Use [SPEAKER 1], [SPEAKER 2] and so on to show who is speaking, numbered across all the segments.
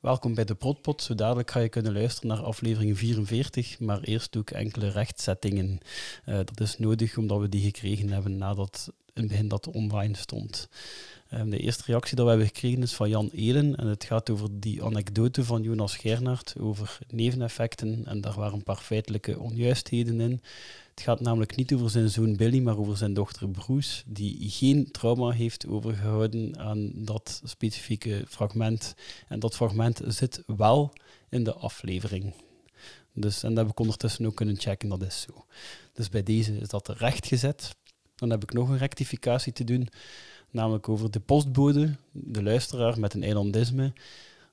[SPEAKER 1] Welkom bij de Protpot. Zo dadelijk ga je kunnen luisteren naar aflevering 44, maar eerst doe ik enkele rechtzettingen. Eh, dat is nodig omdat we die gekregen hebben nadat in het begin dat online stond. Eh, de eerste reactie die we hebben gekregen is van Jan Elen en het gaat over die anekdote van Jonas Gernaert over neveneffecten en daar waren een paar feitelijke onjuistheden in. Het gaat namelijk niet over zijn zoon Billy, maar over zijn dochter Bruce, die geen trauma heeft overgehouden aan dat specifieke fragment. En dat fragment zit wel in de aflevering. Dus, en dat heb ik ondertussen ook kunnen checken, dat is zo. Dus bij deze is dat rechtgezet. Dan heb ik nog een rectificatie te doen, namelijk over de postbode, de luisteraar met een eilandisme.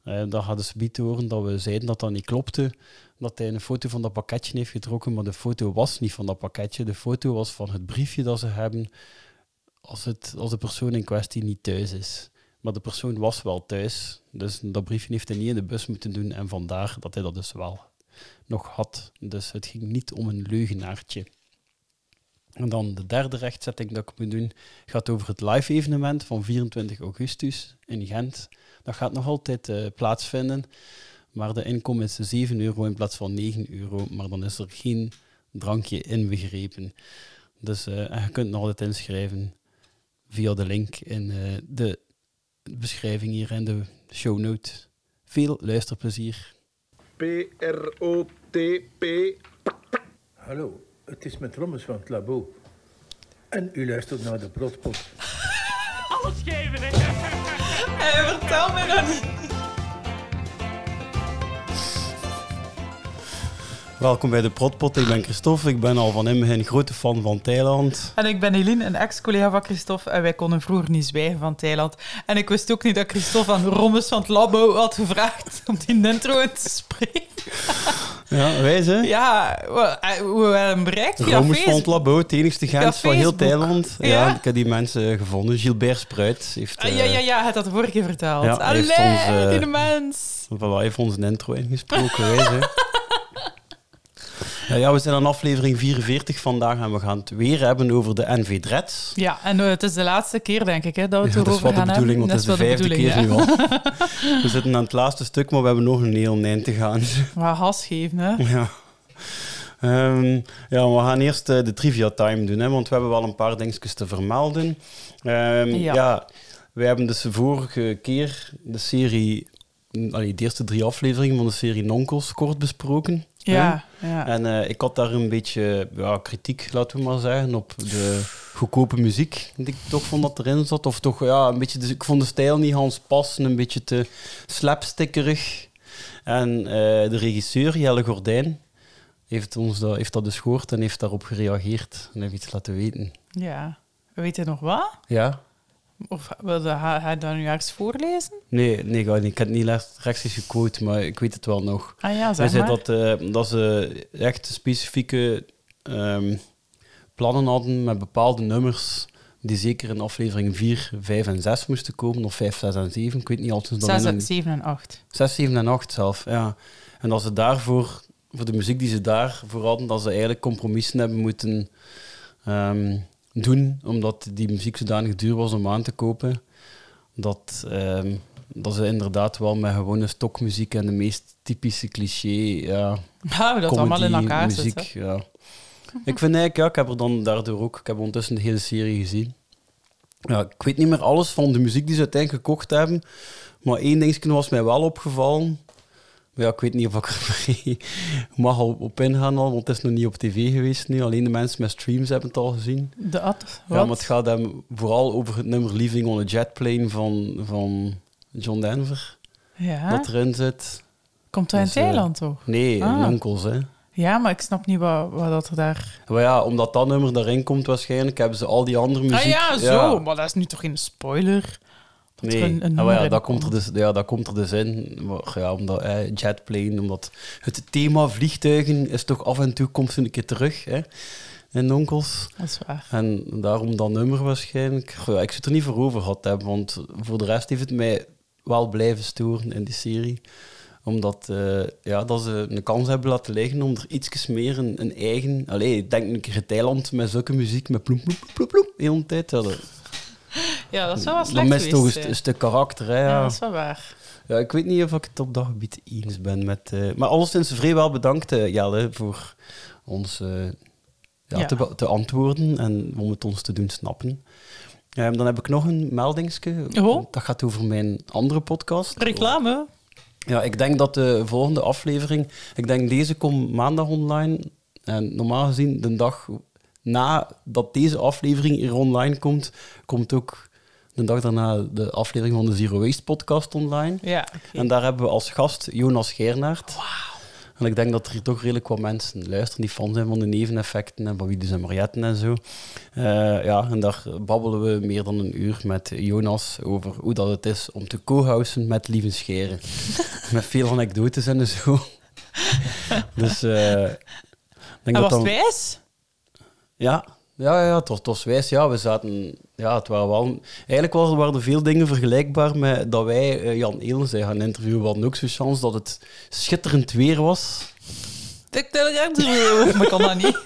[SPEAKER 1] Eh daar hadden ze niet horen dat we zeiden dat dat niet klopte, dat hij een foto van dat pakketje heeft getrokken, maar de foto was niet van dat pakketje. De foto was van het briefje dat ze hebben als, het, als de persoon in kwestie niet thuis is. Maar de persoon was wel thuis, dus dat briefje heeft hij niet in de bus moeten doen en vandaar dat hij dat dus wel nog had. Dus het ging niet om een leugenaartje. En dan de derde rechtzetting dat ik moet doen, gaat over het live-evenement van 24 augustus in Gent. Dat gaat nog altijd eh, plaatsvinden, maar de inkom is 7 euro in plaats van 9 euro, maar dan is er geen drankje inbegrepen. Dus eh, en je kunt nog altijd inschrijven via de link in eh, de beschrijving hier in de show note. Veel luisterplezier.
[SPEAKER 2] P-R-O-T-P.
[SPEAKER 3] Hallo, het is met Rommes van het labo. En u luistert naar de Protpot.
[SPEAKER 4] alles geven, hè?
[SPEAKER 5] Hey, vertel me dat niet.
[SPEAKER 1] Welkom bij de Protpot, ik ben Christophe. Ik ben al van in een grote fan van Thailand.
[SPEAKER 5] En ik ben Eline, een ex-collega van Christophe. En wij konden vroeger niet zwijgen van Thailand. En ik wist ook niet dat Christophe aan Rommes van het Labo had gevraagd om die intro te spreken.
[SPEAKER 1] Ja, wijs hè?
[SPEAKER 5] Ja, we, eh, we werden bereikt via
[SPEAKER 1] Romus van het
[SPEAKER 5] Facebook.
[SPEAKER 1] Labo, het enigste grens van heel
[SPEAKER 5] Facebook.
[SPEAKER 1] Thailand. Ja.
[SPEAKER 5] Ja.
[SPEAKER 1] ik heb die mensen eh, gevonden. Gilbert Spruit heeft,
[SPEAKER 5] Ah,
[SPEAKER 1] eh
[SPEAKER 5] ja, ja, ja, hij had dat de vorige keer verteld.
[SPEAKER 1] Ja, hij
[SPEAKER 5] Allee,
[SPEAKER 1] heeft ons, eh,
[SPEAKER 5] die mens.
[SPEAKER 1] voilà, heeft ons een intro ingesproken. wijs, hè? Nou Ja, ja, we zijn aan aflevering 44 vandaag en we gaan het weer hebben over de NV Dreads.
[SPEAKER 5] Ja, en eh, het is de laatste keer, denk ik, hè, dat we het
[SPEAKER 1] Ja, dat is
[SPEAKER 5] erover
[SPEAKER 1] wel de
[SPEAKER 5] gaan
[SPEAKER 1] bedoeling, want
[SPEAKER 5] hebben.
[SPEAKER 1] het is de vijfde
[SPEAKER 5] wel
[SPEAKER 1] keer nu
[SPEAKER 5] bedoeling,
[SPEAKER 1] al. We zitten aan het laatste stuk, maar we hebben nog een heel eind te gaan. dus,
[SPEAKER 5] hè. Maar gas geven, hè.
[SPEAKER 1] Ja. Ehm, ja, we gaan eerst eh, de trivia time doen, hè, want we hebben wel een paar dingetjes te vermelden. Ehm, ja.
[SPEAKER 5] Ja.
[SPEAKER 1] we hebben dus de vorige keer de serie, mm, allee, de eerste drie afleveringen van de serie Nonkels kort besproken. hè.
[SPEAKER 5] Ja, ja.
[SPEAKER 1] En eh, ik had daar een beetje ja, kritiek, laten we maar zeggen, op de goedkope muziek die ik toch vond dat erin zat. Of toch, ja, een beetje, dus ik vond de stijl niet Hans passen, een beetje te slapstickerig. En eh, de regisseur, Jelle Gordijn, heeft, ons dat, heeft dat dus gehoord en heeft daarop gereageerd en heeft iets laten weten.
[SPEAKER 5] ja. Weet je nog wat?
[SPEAKER 1] Ja?
[SPEAKER 5] Of wilde hij hij dat nu ergens voorlezen?
[SPEAKER 1] Nee, nee, ga niet. ik heb het niet recht- rechtstreeks gequote, maar ik weet het wel nog.
[SPEAKER 5] Ah ja,
[SPEAKER 1] Hij
[SPEAKER 5] zeg
[SPEAKER 1] zei
[SPEAKER 5] maar.
[SPEAKER 1] dat, eh, dat ze echt specifieke ehm, plannen hadden met bepaalde nummers die zeker in aflevering 4, 5 en 6 moesten komen, of 5, 6 en 7, ik weet niet altijd. hoe ze dat
[SPEAKER 5] Zes,
[SPEAKER 1] in hun-
[SPEAKER 5] zeven en acht.
[SPEAKER 1] 6, 7 en 8 zelf, ja. En dat ze daarvoor, voor de muziek die ze daarvoor hadden, dat ze eigenlijk compromissen hebben moeten ehm, doen, omdat die muziek zodanig duur was om aan te kopen, dat, ehm, dat ze inderdaad wel met gewone stokmuziek en de meest typische cliché... Ja,
[SPEAKER 5] Ja, we Nou, dat
[SPEAKER 1] comedy,
[SPEAKER 5] allemaal in elkaar
[SPEAKER 1] muziek,
[SPEAKER 5] zitten.
[SPEAKER 1] ja. Ik vind eigenlijk, ja, ik heb er dan daardoor ook, ik heb ondertussen de hele serie gezien. Ja, ik weet niet meer alles van de muziek die ze uiteindelijk gekocht hebben, maar één ding was mij wel opgevallen. Maar Ja, ik weet niet of ik er mag al op ingaan, al, want het is nog niet op tv geweest nu. Alleen de mensen met streams hebben het al gezien.
[SPEAKER 5] De at,
[SPEAKER 1] Ja,
[SPEAKER 5] wat?
[SPEAKER 1] maar het gaat hem vooral over het nummer Leaving on a Jet Plane van, van John Denver,
[SPEAKER 5] Ja,
[SPEAKER 1] dat erin zit.
[SPEAKER 5] komt dat in
[SPEAKER 1] dus, eh,
[SPEAKER 5] Thailand toch?
[SPEAKER 1] Nee,
[SPEAKER 5] Ah.
[SPEAKER 1] Nonkels, hè.
[SPEAKER 5] Ja, maar ik snap niet wat, wat dat er daar...
[SPEAKER 1] Maar ja, omdat dat nummer daarin komt waarschijnlijk, hebben ze al die andere muziek...
[SPEAKER 5] ah ja, zo. Maar dat is nu toch geen spoiler? Dat
[SPEAKER 1] Nee,
[SPEAKER 5] er een, een
[SPEAKER 1] Ah, maar ja,
[SPEAKER 5] nummer
[SPEAKER 1] dat
[SPEAKER 5] in
[SPEAKER 1] komt er dus, ja, dat komt er dus in. Maar ja, omdat, eh, jetplane, omdat het thema vliegtuigen is toch af en toe komt ze een keer terug hè, in Onkels.
[SPEAKER 5] Dat is waar.
[SPEAKER 1] En daarom dat nummer waarschijnlijk. Goh, ja, ik zit er niet voor over gehad hebben, want voor de rest heeft het mij wel blijven storen in die serie. Omdat eh, ja, dat ze een kans hebben laten liggen om er iets meer een, een eigen... Allee, ik denk een keer in Thailand met zulke muziek, met ploem, ploem, ploem, ploem, heel de tijd. Ja, dat-
[SPEAKER 5] Ja, dat is wel wat
[SPEAKER 1] dat
[SPEAKER 5] slecht
[SPEAKER 1] mist toch een,
[SPEAKER 5] geweest
[SPEAKER 1] st-
[SPEAKER 5] zijn.
[SPEAKER 1] een stuk karakter, hè.
[SPEAKER 5] Ja,
[SPEAKER 1] Ja,
[SPEAKER 5] dat is wel waar.
[SPEAKER 1] ja. Ja, ik weet niet of ik het op dat gebied eens ben met... eh, maar alleszins vrijwel bedankt, eh, Jelle, voor ons eh, ja,
[SPEAKER 5] Ja.
[SPEAKER 1] Te, be- te antwoorden en om het ons te doen snappen. Eh, dan heb ik nog een meldingske.
[SPEAKER 5] Oh.
[SPEAKER 1] Dat gaat over mijn andere podcast.
[SPEAKER 5] Reclame?
[SPEAKER 1] Ja, ik denk dat de volgende aflevering... Ik denk deze komt maandag online. En normaal gezien, de dag nadat deze aflevering hier online komt, komt ook de dag daarna de aflevering van de Zero Waste podcast online.
[SPEAKER 5] Ja. oké.
[SPEAKER 1] En daar hebben we als gast Jonas Geernaert. En ik denk dat er hier toch redelijk wat mensen luisteren die fan zijn van de neveneffecten en van Wiedus en Marietten en zo. Eh, ja, en daar babbelen we meer dan een uur met Jonas over hoe dat het is om te co-housen met Lieven Scheren. met veel anekdotes en zo. dus eh, ik denk dat
[SPEAKER 5] En was het
[SPEAKER 1] dan-
[SPEAKER 5] wijs?
[SPEAKER 1] ja, ja, ja, ja het, was, het was wijs. Ja, we zaten... Ja, het waren wel... Eigenlijk was, waren er veel dingen vergelijkbaar met dat wij eh, Jan Elen zijn gaan interviewen. We hadden ook zo'n chance dat het schitterend weer was.
[SPEAKER 5] Ik telegram te doen. Maar kan dat niet.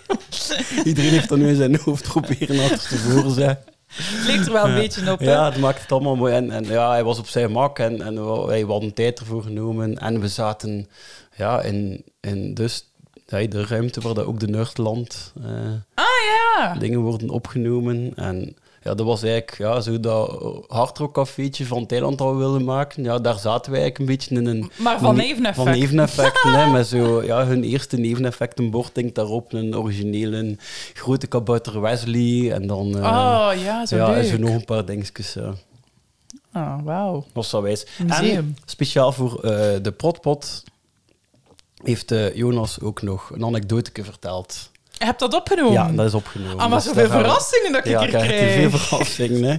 [SPEAKER 1] Iedereen heeft dat nu in zijn hoofd proberen achter tevoren zijn.
[SPEAKER 5] Het leek er wel een beetje op. hè.
[SPEAKER 1] Ja, het maakt het allemaal mooi. En, en ja, hij was op zijn mak en, en we, wij hadden tijd ervoor genomen. En we zaten ja, in, in dus, ja, de ruimte waar dat ook de Nerdland... eh,
[SPEAKER 5] Ah ja.
[SPEAKER 1] dingen worden opgenomen. En ja, dat was eigenlijk ja, zo dat hardrockcafeetje van Thailand dat we wilden maken. Ja, daar zaten wij eigenlijk een beetje in een...
[SPEAKER 5] Maar van
[SPEAKER 1] ne-
[SPEAKER 5] Neveneffect.
[SPEAKER 1] Van neveneffecten, hè, met zo, ja, hun eerste neveneffectenbord denk daarop. Een originele een grote kabouter Wesley. En dan... eh,
[SPEAKER 5] Oh ja, zo
[SPEAKER 1] ja, en
[SPEAKER 5] leuk.
[SPEAKER 1] zo nog een paar dingetjes. Ja.
[SPEAKER 5] Oh, wauw.
[SPEAKER 1] Was zo wijs.
[SPEAKER 5] Museum.
[SPEAKER 1] En speciaal voor eh, de protpot heeft eh, Jonas ook nog een anekdoteke verteld.
[SPEAKER 5] Je hebt dat opgenomen?
[SPEAKER 1] Ja, dat is opgenomen.
[SPEAKER 5] Ah, maar
[SPEAKER 1] Dus
[SPEAKER 5] zoveel
[SPEAKER 1] daar gaan we-
[SPEAKER 5] verrassingen dat ik
[SPEAKER 1] ja,
[SPEAKER 5] hier
[SPEAKER 1] krijg je
[SPEAKER 5] krijg.
[SPEAKER 1] veel verrassingen. Hè?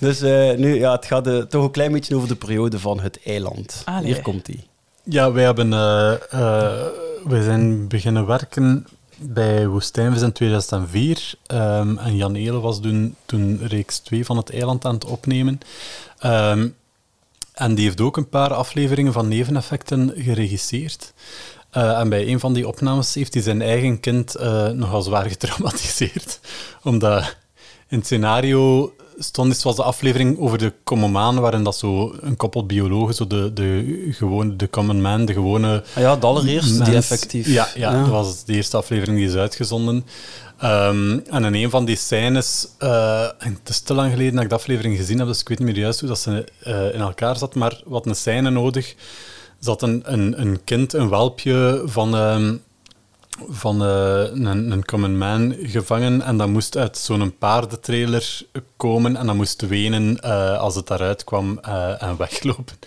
[SPEAKER 1] Dus eh, nu, ja, het gaat eh, toch een klein beetje over de periode van het eiland.
[SPEAKER 5] Allee.
[SPEAKER 1] Hier komt die.
[SPEAKER 2] Ja, wij hebben, eh, eh, wij zijn beginnen werken bij Woestijnvis in 2004. Ehm, en Jan Eelen was toen, toen reeks 2 van het eiland aan het opnemen. Ehm, en die heeft ook een paar afleveringen van Neveneffecten geregisseerd. Eh, en bij een van die opnames heeft hij zijn eigen kind eh, nogal zwaar getraumatiseerd. Omdat in het scenario stond is was de aflevering over de common man, waarin dat zo een koppel biologen, zo de, de, gewone, de common man, de gewone
[SPEAKER 1] Ah ja, de allereerste, die
[SPEAKER 2] Mens-
[SPEAKER 1] effectief.
[SPEAKER 2] Ja, ja,
[SPEAKER 1] Ja.
[SPEAKER 2] dat was de eerste aflevering die is uitgezonden. Ehm, en in een van die scènes, eh, en het is te lang geleden dat ik de aflevering gezien heb, dus ik weet niet meer juist hoe dat ze eh, in elkaar zat, maar wat een scène nodig. Zat een, een, een kind, een welpje van, ehm, van eh, een, een common man gevangen en dat moest uit zo'n paardentrailer komen en dat moest wenen eh, als het daaruit kwam eh, en weglopen.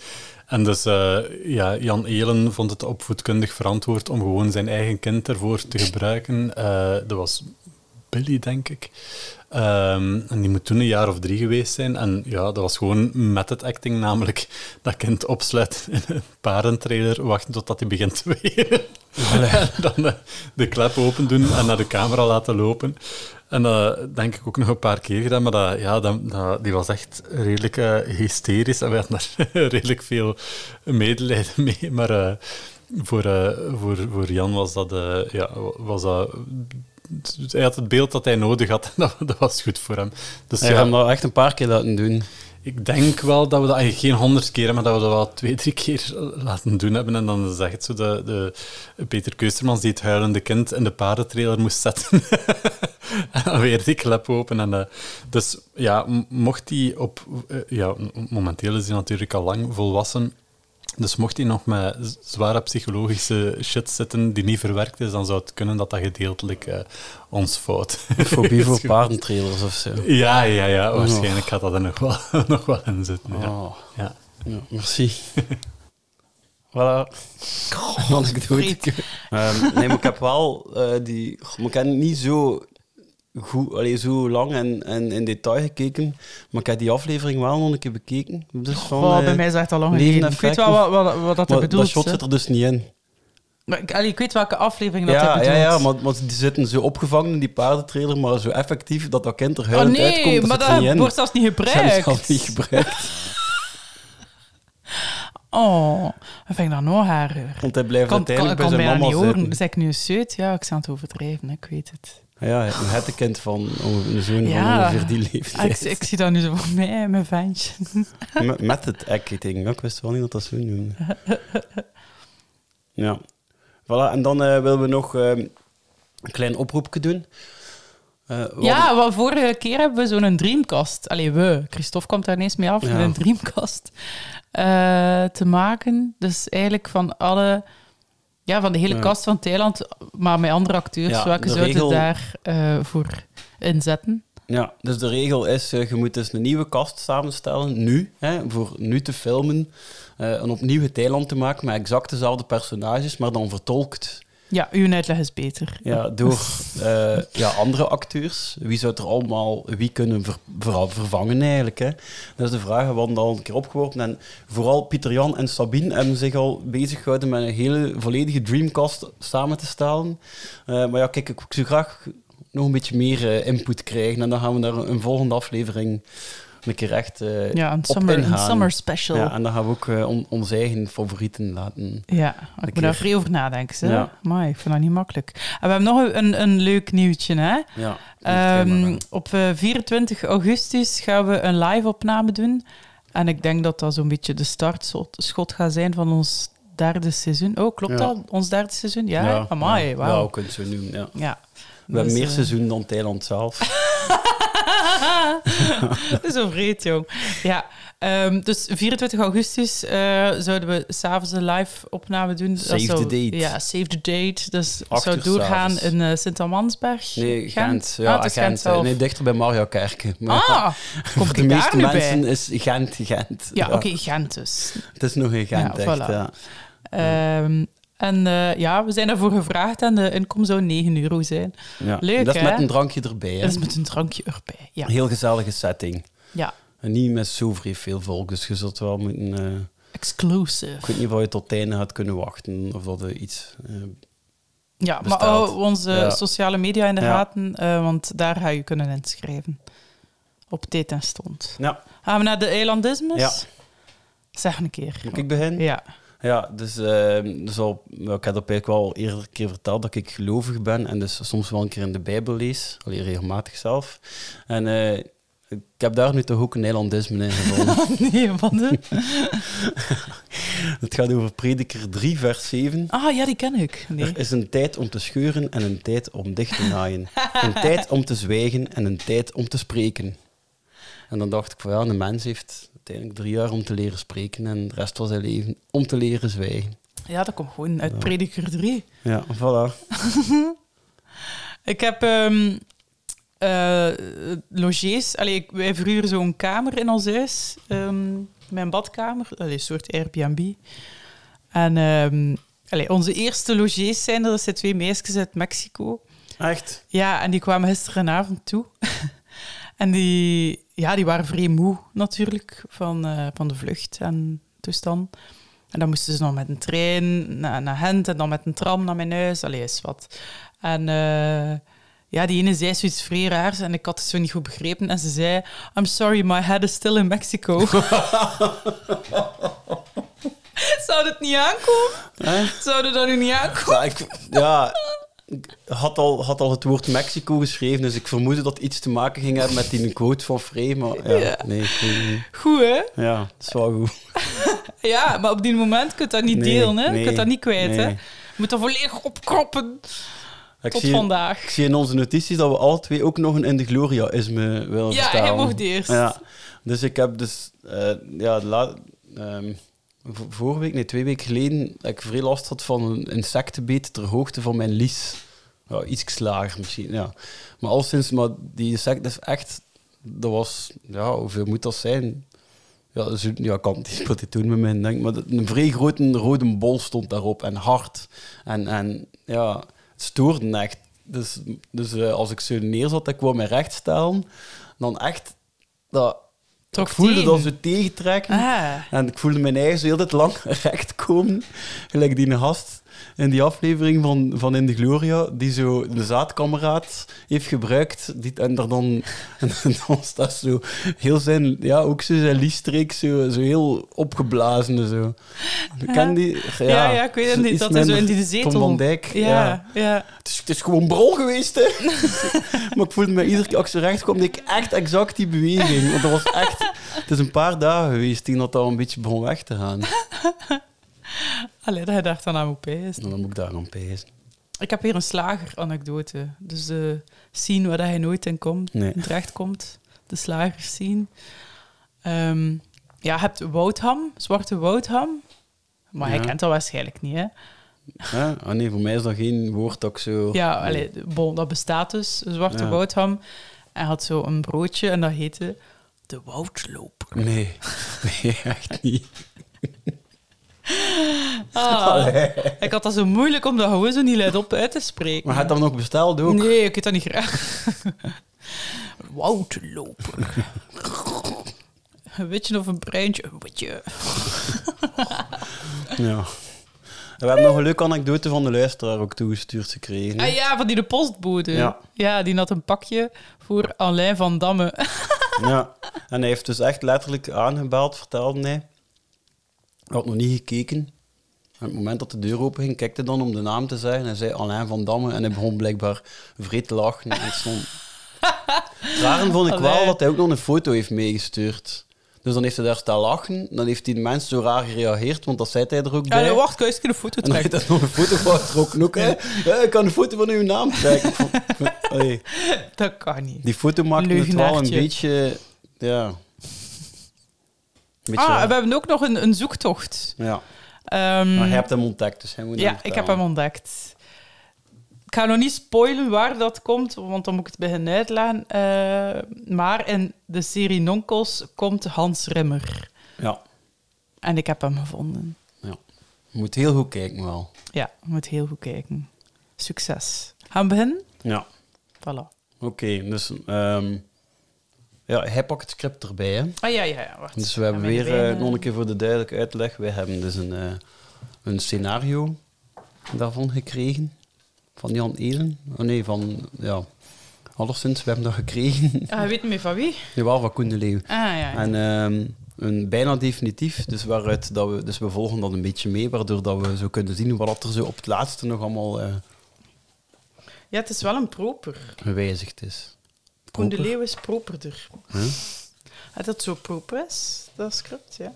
[SPEAKER 2] En dus eh, ja, Jan Elen vond het opvoedkundig verantwoord om gewoon zijn eigen kind ervoor te gebruiken. Eh, dat was Billy, denk ik. Ehm, en die moet toen een jaar of drie geweest zijn. En ja, dat was gewoon met het acting, namelijk dat kind opsluiten in een parentrailer, wachten totdat hij begint te wenen. En dan de, de klep open doen en naar de camera laten lopen. En dat denk ik ook nog een paar keer gedaan, maar dat, ja, dat, dat- die was echt redelijk eh, hysterisch en we hadden daar redelijk veel medelijden mee. Maar eh, voor, eh, voor, voor Jan was dat, eh, ja, was dat hij had het beeld dat hij nodig had en dat, dat was goed voor hem. Dus
[SPEAKER 1] Hij heeft
[SPEAKER 2] ja,
[SPEAKER 1] hem dat echt een paar keer laten doen.
[SPEAKER 2] ik denk wel dat we dat eigenlijk geen honderd keer, maar dat we dat wel twee, drie keer laten doen hebben. En dan zegt zo de, de Peter Keustermans die het huilende kind in de paardentrailer moest zetten. en dan weer die klep open. En, eh, dus ja, m- mocht hij op... eh, ja, m- momenteel is hij natuurlijk al lang volwassen. Dus mocht hij nog met z- zware psychologische shit zitten die niet verwerkt is, dan zou het kunnen dat dat gedeeltelijk eh, ons fout
[SPEAKER 1] Fobie
[SPEAKER 2] is
[SPEAKER 1] voor
[SPEAKER 2] geweest.
[SPEAKER 1] paardentrailers of zo.
[SPEAKER 2] Ja, ja, ja. Waarschijnlijk gaat dat er nog wel, nog wel in zitten. Ja.
[SPEAKER 1] Oh,
[SPEAKER 2] Ja.
[SPEAKER 1] ja, merci. voilà. Anekdoteke. Ehm, nee, maar ik heb wel eh, die... Goh, maar Ik heb niet zo goed, allee, zo lang en, en in detail gekeken, maar ik heb die aflevering wel nog een keer bekeken. Dus van,
[SPEAKER 5] Goh, bij
[SPEAKER 1] eh,
[SPEAKER 5] mij is dat echt al lang
[SPEAKER 1] Leven
[SPEAKER 5] geleden.
[SPEAKER 1] en
[SPEAKER 5] Ik weet
[SPEAKER 1] Fact
[SPEAKER 5] wel wat, wat, wat dat er
[SPEAKER 1] maar
[SPEAKER 5] bedoelt.
[SPEAKER 1] dat shot
[SPEAKER 5] hè.
[SPEAKER 1] zit er dus niet in.
[SPEAKER 5] Maar ik, allee, ik weet welke aflevering dat hij
[SPEAKER 1] Ja, ja,
[SPEAKER 5] bedoelt.
[SPEAKER 1] ja maar, want die zitten zo opgevangen in die paardentrailer, maar zo effectief dat dat kind er
[SPEAKER 5] Oh
[SPEAKER 1] huilend
[SPEAKER 5] nee,
[SPEAKER 1] uitkomt,
[SPEAKER 5] maar
[SPEAKER 1] dat zit er niet
[SPEAKER 5] dat
[SPEAKER 1] in.
[SPEAKER 5] wordt zelfs niet
[SPEAKER 1] Ze hebben het zelf
[SPEAKER 5] gebruikt.
[SPEAKER 1] niet gebruikt,
[SPEAKER 5] Oh, dat vind ik dan nog harder.
[SPEAKER 1] want hij blijft
[SPEAKER 5] Kan, kan,
[SPEAKER 1] uiteindelijk
[SPEAKER 5] kan
[SPEAKER 1] bij zijn
[SPEAKER 5] bijna
[SPEAKER 1] mama
[SPEAKER 5] niet horen.
[SPEAKER 1] zitten.
[SPEAKER 5] Zeg ik nu zeut? Ja, ik zou het overdrijven, hè, ik weet het.
[SPEAKER 1] Ah Ja, een hettekind van onge- een zoon
[SPEAKER 5] Ja.
[SPEAKER 1] van ongeveer die
[SPEAKER 5] Ah, ik,
[SPEAKER 1] leeftijd.
[SPEAKER 5] ik zie dat nu zo voor mij, mijn ventje.
[SPEAKER 1] met, met het ek, ik denk. Ik wist wel niet dat dat zo doen. ja. Voilà, en dan eh, willen we nog ehm, een klein oproepje doen. Eh, we
[SPEAKER 5] Ja, want vorige keer hebben we zo'n dreamkast. Allee, we. Christophe kwam daar ineens mee af.
[SPEAKER 1] Ja.
[SPEAKER 5] Een dreamkast eh, te maken. Dus eigenlijk van alle... Ja, van de hele
[SPEAKER 1] Ja.
[SPEAKER 5] kast van Thailand, maar met andere acteurs.
[SPEAKER 1] Ja,
[SPEAKER 5] Welke
[SPEAKER 1] de
[SPEAKER 5] zouden
[SPEAKER 1] regel-
[SPEAKER 5] daar eh, voor inzetten?
[SPEAKER 1] Ja, dus de regel is, eh, je moet dus een nieuwe kast samenstellen, nu, hè, voor nu te filmen, eh, en opnieuw het eiland te maken met exact dezelfde personages, maar dan vertolkt
[SPEAKER 5] Ja, uw uitleg is beter.
[SPEAKER 1] ja, door eh, ja, andere acteurs. Wie zou het er allemaal wie kunnen ver- vooral vervangen eigenlijk? Hè? Dat is de vraag, we hadden dat al een keer opgeworpen. En vooral Pieter Jan en Sabine hebben zich al bezig gehouden met een hele volledige Dreamcast samen te stellen. Eh, maar ja, kijk, ik zou graag nog een beetje meer eh, input krijgen. En dan gaan we daar een volgende aflevering een keer echt eh,
[SPEAKER 5] Ja, een
[SPEAKER 1] op
[SPEAKER 5] summer, een
[SPEAKER 1] ingaan.
[SPEAKER 5] summer special.
[SPEAKER 1] Ja,
[SPEAKER 5] Ja,
[SPEAKER 1] en dan gaan we ook eh, on- onze eigen favorieten laten.
[SPEAKER 5] ik
[SPEAKER 1] keer.
[SPEAKER 5] moet daar vrij over nadenken. hè.
[SPEAKER 1] Ja.
[SPEAKER 5] Maar ik vind dat niet makkelijk. En we hebben nog een, een leuk nieuwtje, hè?
[SPEAKER 1] Ja,
[SPEAKER 5] Ehm,
[SPEAKER 1] dat is
[SPEAKER 5] op eh, 24 augustus gaan we een live-opname doen. En ik denk dat dat zo'n beetje de startschot gaat zijn van ons derde seizoen. Oh, klopt
[SPEAKER 1] Ja.
[SPEAKER 5] dat? Ons derde seizoen? Ja,
[SPEAKER 1] Ja,
[SPEAKER 5] amai,
[SPEAKER 1] ja.
[SPEAKER 5] wauw.
[SPEAKER 1] Ja, we kunnen het zo noemen, ja.
[SPEAKER 5] Ja.
[SPEAKER 1] We hebben
[SPEAKER 5] Dus,
[SPEAKER 1] meer
[SPEAKER 5] eh,
[SPEAKER 1] seizoen dan Thailand zelf.
[SPEAKER 5] Zo vreed, jong. Ja, ehm, dus 24 augustus eh, zouden we s'avonds een live-opname doen. Dat
[SPEAKER 1] Save
[SPEAKER 5] zou-
[SPEAKER 1] the date.
[SPEAKER 5] Ja, save the date. Dus
[SPEAKER 1] Acht
[SPEAKER 5] zou
[SPEAKER 1] uur
[SPEAKER 5] doorgaan
[SPEAKER 1] s'avonds.
[SPEAKER 5] in eh, Sint-Amansberg.
[SPEAKER 1] Nee, Gent.
[SPEAKER 5] Ah,
[SPEAKER 1] Ja,
[SPEAKER 5] het is
[SPEAKER 1] Gent. eh,
[SPEAKER 5] zelf.
[SPEAKER 1] nee, dichter bij Mario Kerken.
[SPEAKER 5] ah, kom
[SPEAKER 1] voor de
[SPEAKER 5] ik daar
[SPEAKER 1] meeste
[SPEAKER 5] nu
[SPEAKER 1] mensen
[SPEAKER 5] bij?
[SPEAKER 1] is Gent Gent.
[SPEAKER 5] Ja, oké, Gent dus.
[SPEAKER 1] Het is nog een Gent,
[SPEAKER 5] Ja,
[SPEAKER 1] echt.
[SPEAKER 5] voilà.
[SPEAKER 1] Ja.
[SPEAKER 5] Ehm, en eh, ja, we zijn daarvoor gevraagd en de inkom zou 9 euro zijn.
[SPEAKER 1] Ja.
[SPEAKER 5] Leuk,
[SPEAKER 1] Dat is
[SPEAKER 5] hè?
[SPEAKER 1] met een drankje erbij. Hè?
[SPEAKER 5] Dat is met een drankje erbij. Ja.
[SPEAKER 1] Een heel gezellige setting.
[SPEAKER 5] ja.
[SPEAKER 1] En niet met zo vrij veel volk, dus je zult wel moeten... eh, ik
[SPEAKER 5] Exclusive.
[SPEAKER 1] weet niet of je tot het einde had kunnen wachten, of dat er iets... eh,
[SPEAKER 5] Ja, maar
[SPEAKER 1] Bestaat.
[SPEAKER 5] hou onze
[SPEAKER 1] Ja.
[SPEAKER 5] sociale media in de
[SPEAKER 1] Ja.
[SPEAKER 5] gaten, eh, want daar ga je kunnen inschrijven. Op dit en stond.
[SPEAKER 1] ja,
[SPEAKER 5] Gaan we naar de eilandismus?
[SPEAKER 1] Ja.
[SPEAKER 5] Zeg een keer.
[SPEAKER 1] moet ik beginnen?
[SPEAKER 5] Ja.
[SPEAKER 1] Ja, dus, ehm, dus al, wel, ik heb dat eigenlijk wel eerder een keer verteld dat ik gelovig ben en dus soms wel een keer in de Bijbel lees, alleen regelmatig zelf. En eh, ik heb daar nu toch ook een Nederlandisme in gevonden.
[SPEAKER 5] nee, van de...
[SPEAKER 1] Het gaat over Prediker 3, vers 7.
[SPEAKER 5] Ah, ja, die ken ik. Nee.
[SPEAKER 1] Er is een tijd om te scheuren en een tijd om dicht te naaien. een tijd om te zwijgen en een tijd om te spreken. En dan dacht ik van ja, een mens heeft uiteindelijk drie jaar om te leren spreken en de rest van zijn leven om te leren zwijgen.
[SPEAKER 5] Ja, dat komt gewoon uit Prediker 3.
[SPEAKER 1] Ja, voilà.
[SPEAKER 5] Ik heb ehm eh, logies. Allee, ik- wij verhuren zo'n kamer in ons huis. ehm, mijn badkamer. Dat is een soort Airbnb. En ehm, allee, onze eerste logies zijn er. Dat zijn twee meisjes uit Mexico.
[SPEAKER 1] Echt?
[SPEAKER 5] Ja, en die kwamen gisterenavond toe. en die, ja, die waren vrij moe natuurlijk van, eh, van de vlucht en toestand. En dan moesten ze nog met een trein naar, naar Gent en dan met een tram naar mijn huis. Allee, is wat. En eh, ja, die ene zei zoiets vrij raars en ik had het zo niet goed begrepen. En ze zei, I'm sorry, my head is still in Mexico. Zou het niet aankomen?
[SPEAKER 1] Hè?
[SPEAKER 5] Zouden dat nu niet aankomen?
[SPEAKER 1] Ja, ik, ja, ik had al, had al het woord Mexico geschreven, dus ik vermoedde dat iets te maken ging hebben met die quote van Frey, maar ja,
[SPEAKER 5] Ja.
[SPEAKER 1] nee, ik weet het niet.
[SPEAKER 5] Goed, hè?
[SPEAKER 1] Ja, het is wel goed.
[SPEAKER 5] Ja, maar op die moment kun je dat niet
[SPEAKER 1] Nee,
[SPEAKER 5] delen, hè?
[SPEAKER 1] nee,
[SPEAKER 5] je kunt dat niet kwijt, hè?
[SPEAKER 1] nee.
[SPEAKER 5] Je moet dat volledig opkroppen.
[SPEAKER 1] Ik
[SPEAKER 5] Tot
[SPEAKER 1] zie,
[SPEAKER 5] vandaag.
[SPEAKER 1] Ik zie in onze notities dat we alle twee ook nog een In de Gloria-isme willen
[SPEAKER 5] Ja,
[SPEAKER 1] vertalen.
[SPEAKER 5] jij mocht eerst.
[SPEAKER 1] Ja, dus ik heb dus... eh, ja, de la- ehm, v- vorige week, nee, twee weken geleden, dat ik veel last had van een insectenbeet ter hoogte van mijn lies. Ja, iets lager misschien, ja. Maar al sinds, maar die insect is echt... Dat was... Ja, hoeveel moet dat zijn? Ja, dat is- ja, ik kan het niet wat hij toen met mij denk, maar dat- een vrij grote rode bol stond daarop en hard. En, en ja, het stoorde echt. Dus, dus eh, als ik zo neerzat, ik wou mij recht stellen, dan echt dat.
[SPEAKER 5] Trok
[SPEAKER 1] ik voelde
[SPEAKER 5] tegen.
[SPEAKER 1] dat ze tegentrekken.
[SPEAKER 5] Ah.
[SPEAKER 1] En ik voelde mijn eigen zo heel dit lang recht komen, gelijk die gast. in die aflevering van, van In de Gloria, die zo de zaadkameraad heeft gebruikt. Die, en daar dan, en dan staat zo heel zijn, ja, ook zo zijn liestreek, zo, zo heel opgeblazen. Zo. Ken die? Ja,
[SPEAKER 5] Ah. Ja, ja, ik weet het
[SPEAKER 1] zo
[SPEAKER 5] niet.
[SPEAKER 1] iets
[SPEAKER 5] Dat is zo in
[SPEAKER 1] minder
[SPEAKER 5] die zetel.
[SPEAKER 1] Tom van Dijk. Ja.
[SPEAKER 5] Ja, ja.
[SPEAKER 1] Het, is, het is gewoon brol geweest, hè. maar ik voelde me iedere keer als ik zo recht kwam, deed ik echt exact die beweging. Want dat was echt... Het is een paar dagen geweest die dat al een beetje begon weg te gaan. Nou,
[SPEAKER 5] Allee, dat je daar dan aan moet pijzen.
[SPEAKER 1] En dan moet ik daar aan pijzen.
[SPEAKER 5] Ik heb hier een slager-anekdote. Dus de scene waar hij nooit in komt,
[SPEAKER 1] Nee.
[SPEAKER 5] in terecht komt. De slagerscene. Ehm ja, je hebt woudham, zwarte woudham. Maar hij
[SPEAKER 1] Ja.
[SPEAKER 5] kent dat waarschijnlijk niet, hè?
[SPEAKER 1] Ja? Ah nee, voor mij is dat geen woord dat ik zo...
[SPEAKER 5] Ja, allee, bon, dat bestaat dus, een zwarte
[SPEAKER 1] Ja.
[SPEAKER 5] woudham. Hij had zo een broodje en dat heette de woudloop.
[SPEAKER 1] Nee. Nee, echt niet.
[SPEAKER 5] Ah, ik had dat zo moeilijk om dat gewoon zo niet luidop uit te spreken.
[SPEAKER 1] Maar hij had dat nog besteld ook.
[SPEAKER 5] Nee, ik eet dat niet graag. Woudloper. Een witje of een breintje? Een witje.
[SPEAKER 1] Ja. En we hebben nog een leuke anekdote van de luisteraar ook toegestuurd gekregen.
[SPEAKER 5] Ah ja, van die de postbode.
[SPEAKER 1] Ja.
[SPEAKER 5] Ja, die had een pakje voor Alain van Damme.
[SPEAKER 1] Ja, en hij heeft dus echt letterlijk aangebeld, vertelde hij. Hij had nog niet gekeken. En op het moment dat de deur open ging, kijkte hij dan om de naam te zeggen. Hij zei Alain van Damme en hij begon blijkbaar vreed te lachen. En het stond... Het rare vond ik wel
[SPEAKER 5] Alain.
[SPEAKER 1] dat hij ook nog een foto heeft meegestuurd. Dus dan heeft hij daar staan lachen. Dan heeft die mens zo raar gereageerd, want dat zei hij er ook bij.
[SPEAKER 5] Ja, wacht, kan je eens een foto
[SPEAKER 1] en dan heeft
[SPEAKER 5] trekken?
[SPEAKER 1] hij nog een foto van getrokken ook. Hè? Ja, ik kan een foto van uw naam trekken. Ik vond- ik vond- Allee.
[SPEAKER 5] Dat kan niet.
[SPEAKER 1] Die foto maakte het wel een
[SPEAKER 5] Leugenaartje.
[SPEAKER 1] beetje... Ja. Een beetje
[SPEAKER 5] Ah,
[SPEAKER 1] raar.
[SPEAKER 5] en we hebben ook nog een, een zoektocht.
[SPEAKER 1] Ja,
[SPEAKER 5] Ehm,
[SPEAKER 1] maar jij hebt hem ontdekt, dus hij moet hem
[SPEAKER 5] ja, ik heb hem
[SPEAKER 1] vertellen.
[SPEAKER 5] ontdekt. Ik ga nog niet spoilen waar dat komt, want dan moet ik het beginnen uitleggen. Eh, maar in de serie Nonkels komt Hans Rimmer.
[SPEAKER 1] Ja,
[SPEAKER 5] En ik heb hem gevonden.
[SPEAKER 1] ja. Je moet heel goed kijken wel.
[SPEAKER 5] Ja, je moet heel goed kijken. Succes. Gaan we beginnen?
[SPEAKER 1] Ja.
[SPEAKER 5] Voilà.
[SPEAKER 1] Oké, dus... ehm, ja, hij pakt het script erbij, hè.
[SPEAKER 5] Ah ja, ja, ja, wacht.
[SPEAKER 1] Dus we hebben
[SPEAKER 5] Aan mijn
[SPEAKER 1] weer, eh,
[SPEAKER 5] benen.
[SPEAKER 1] nog een keer voor de duidelijke uitleg, wij hebben dus een, eh, een scenario daarvan gekregen. Van Jan Elen. Oh nee, van... Ja. Alleszins, we hebben dat gekregen.
[SPEAKER 5] Ah, je weet niet meer van wie?
[SPEAKER 1] Jawel, van Koen de Leeuw.
[SPEAKER 5] Ah ja.
[SPEAKER 1] En ehm, een bijna definitief, dus, waaruit dat we, dus we volgen dat een beetje mee, waardoor dat we zo kunnen zien wat dat er zo op het laatste nog allemaal eh,
[SPEAKER 5] Ja, het is wel een proper.
[SPEAKER 1] gewijzigd is.
[SPEAKER 5] Koen de
[SPEAKER 1] Proper?
[SPEAKER 5] Leeuw is properder. Ah, Dat zo proper is, dat script, ja.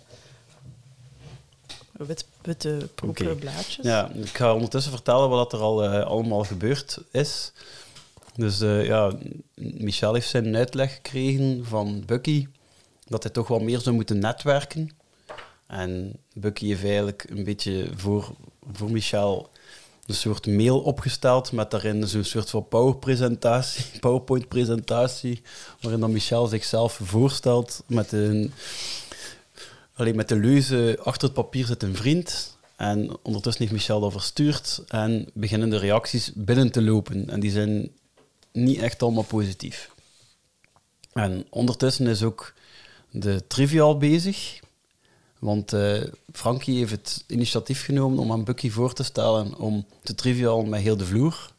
[SPEAKER 5] Wit, witte propere
[SPEAKER 1] Oké.
[SPEAKER 5] blaadjes.
[SPEAKER 1] Ja, ik ga ondertussen vertellen wat dat er al eh, allemaal gebeurd is. Dus eh, ja, Michel heeft zijn uitleg gekregen van Bucky dat hij toch wel meer zou moeten netwerken. En Bucky heeft eigenlijk een beetje voor, voor Michel een soort mail opgesteld met daarin zo'n soort van PowerPoint-presentatie, PowerPoint-presentatie waarin dan Michel zichzelf voorstelt met een Alleen met de leuze achter het papier zit een vriend. En ondertussen heeft Michel dat verstuurd. En beginnen de reacties binnen te lopen. En die zijn niet echt allemaal positief. En ondertussen is ook de trivial bezig. Want eh, Frankie heeft het initiatief genomen om aan Bucky voor te stellen om te trivial met heel de vloer.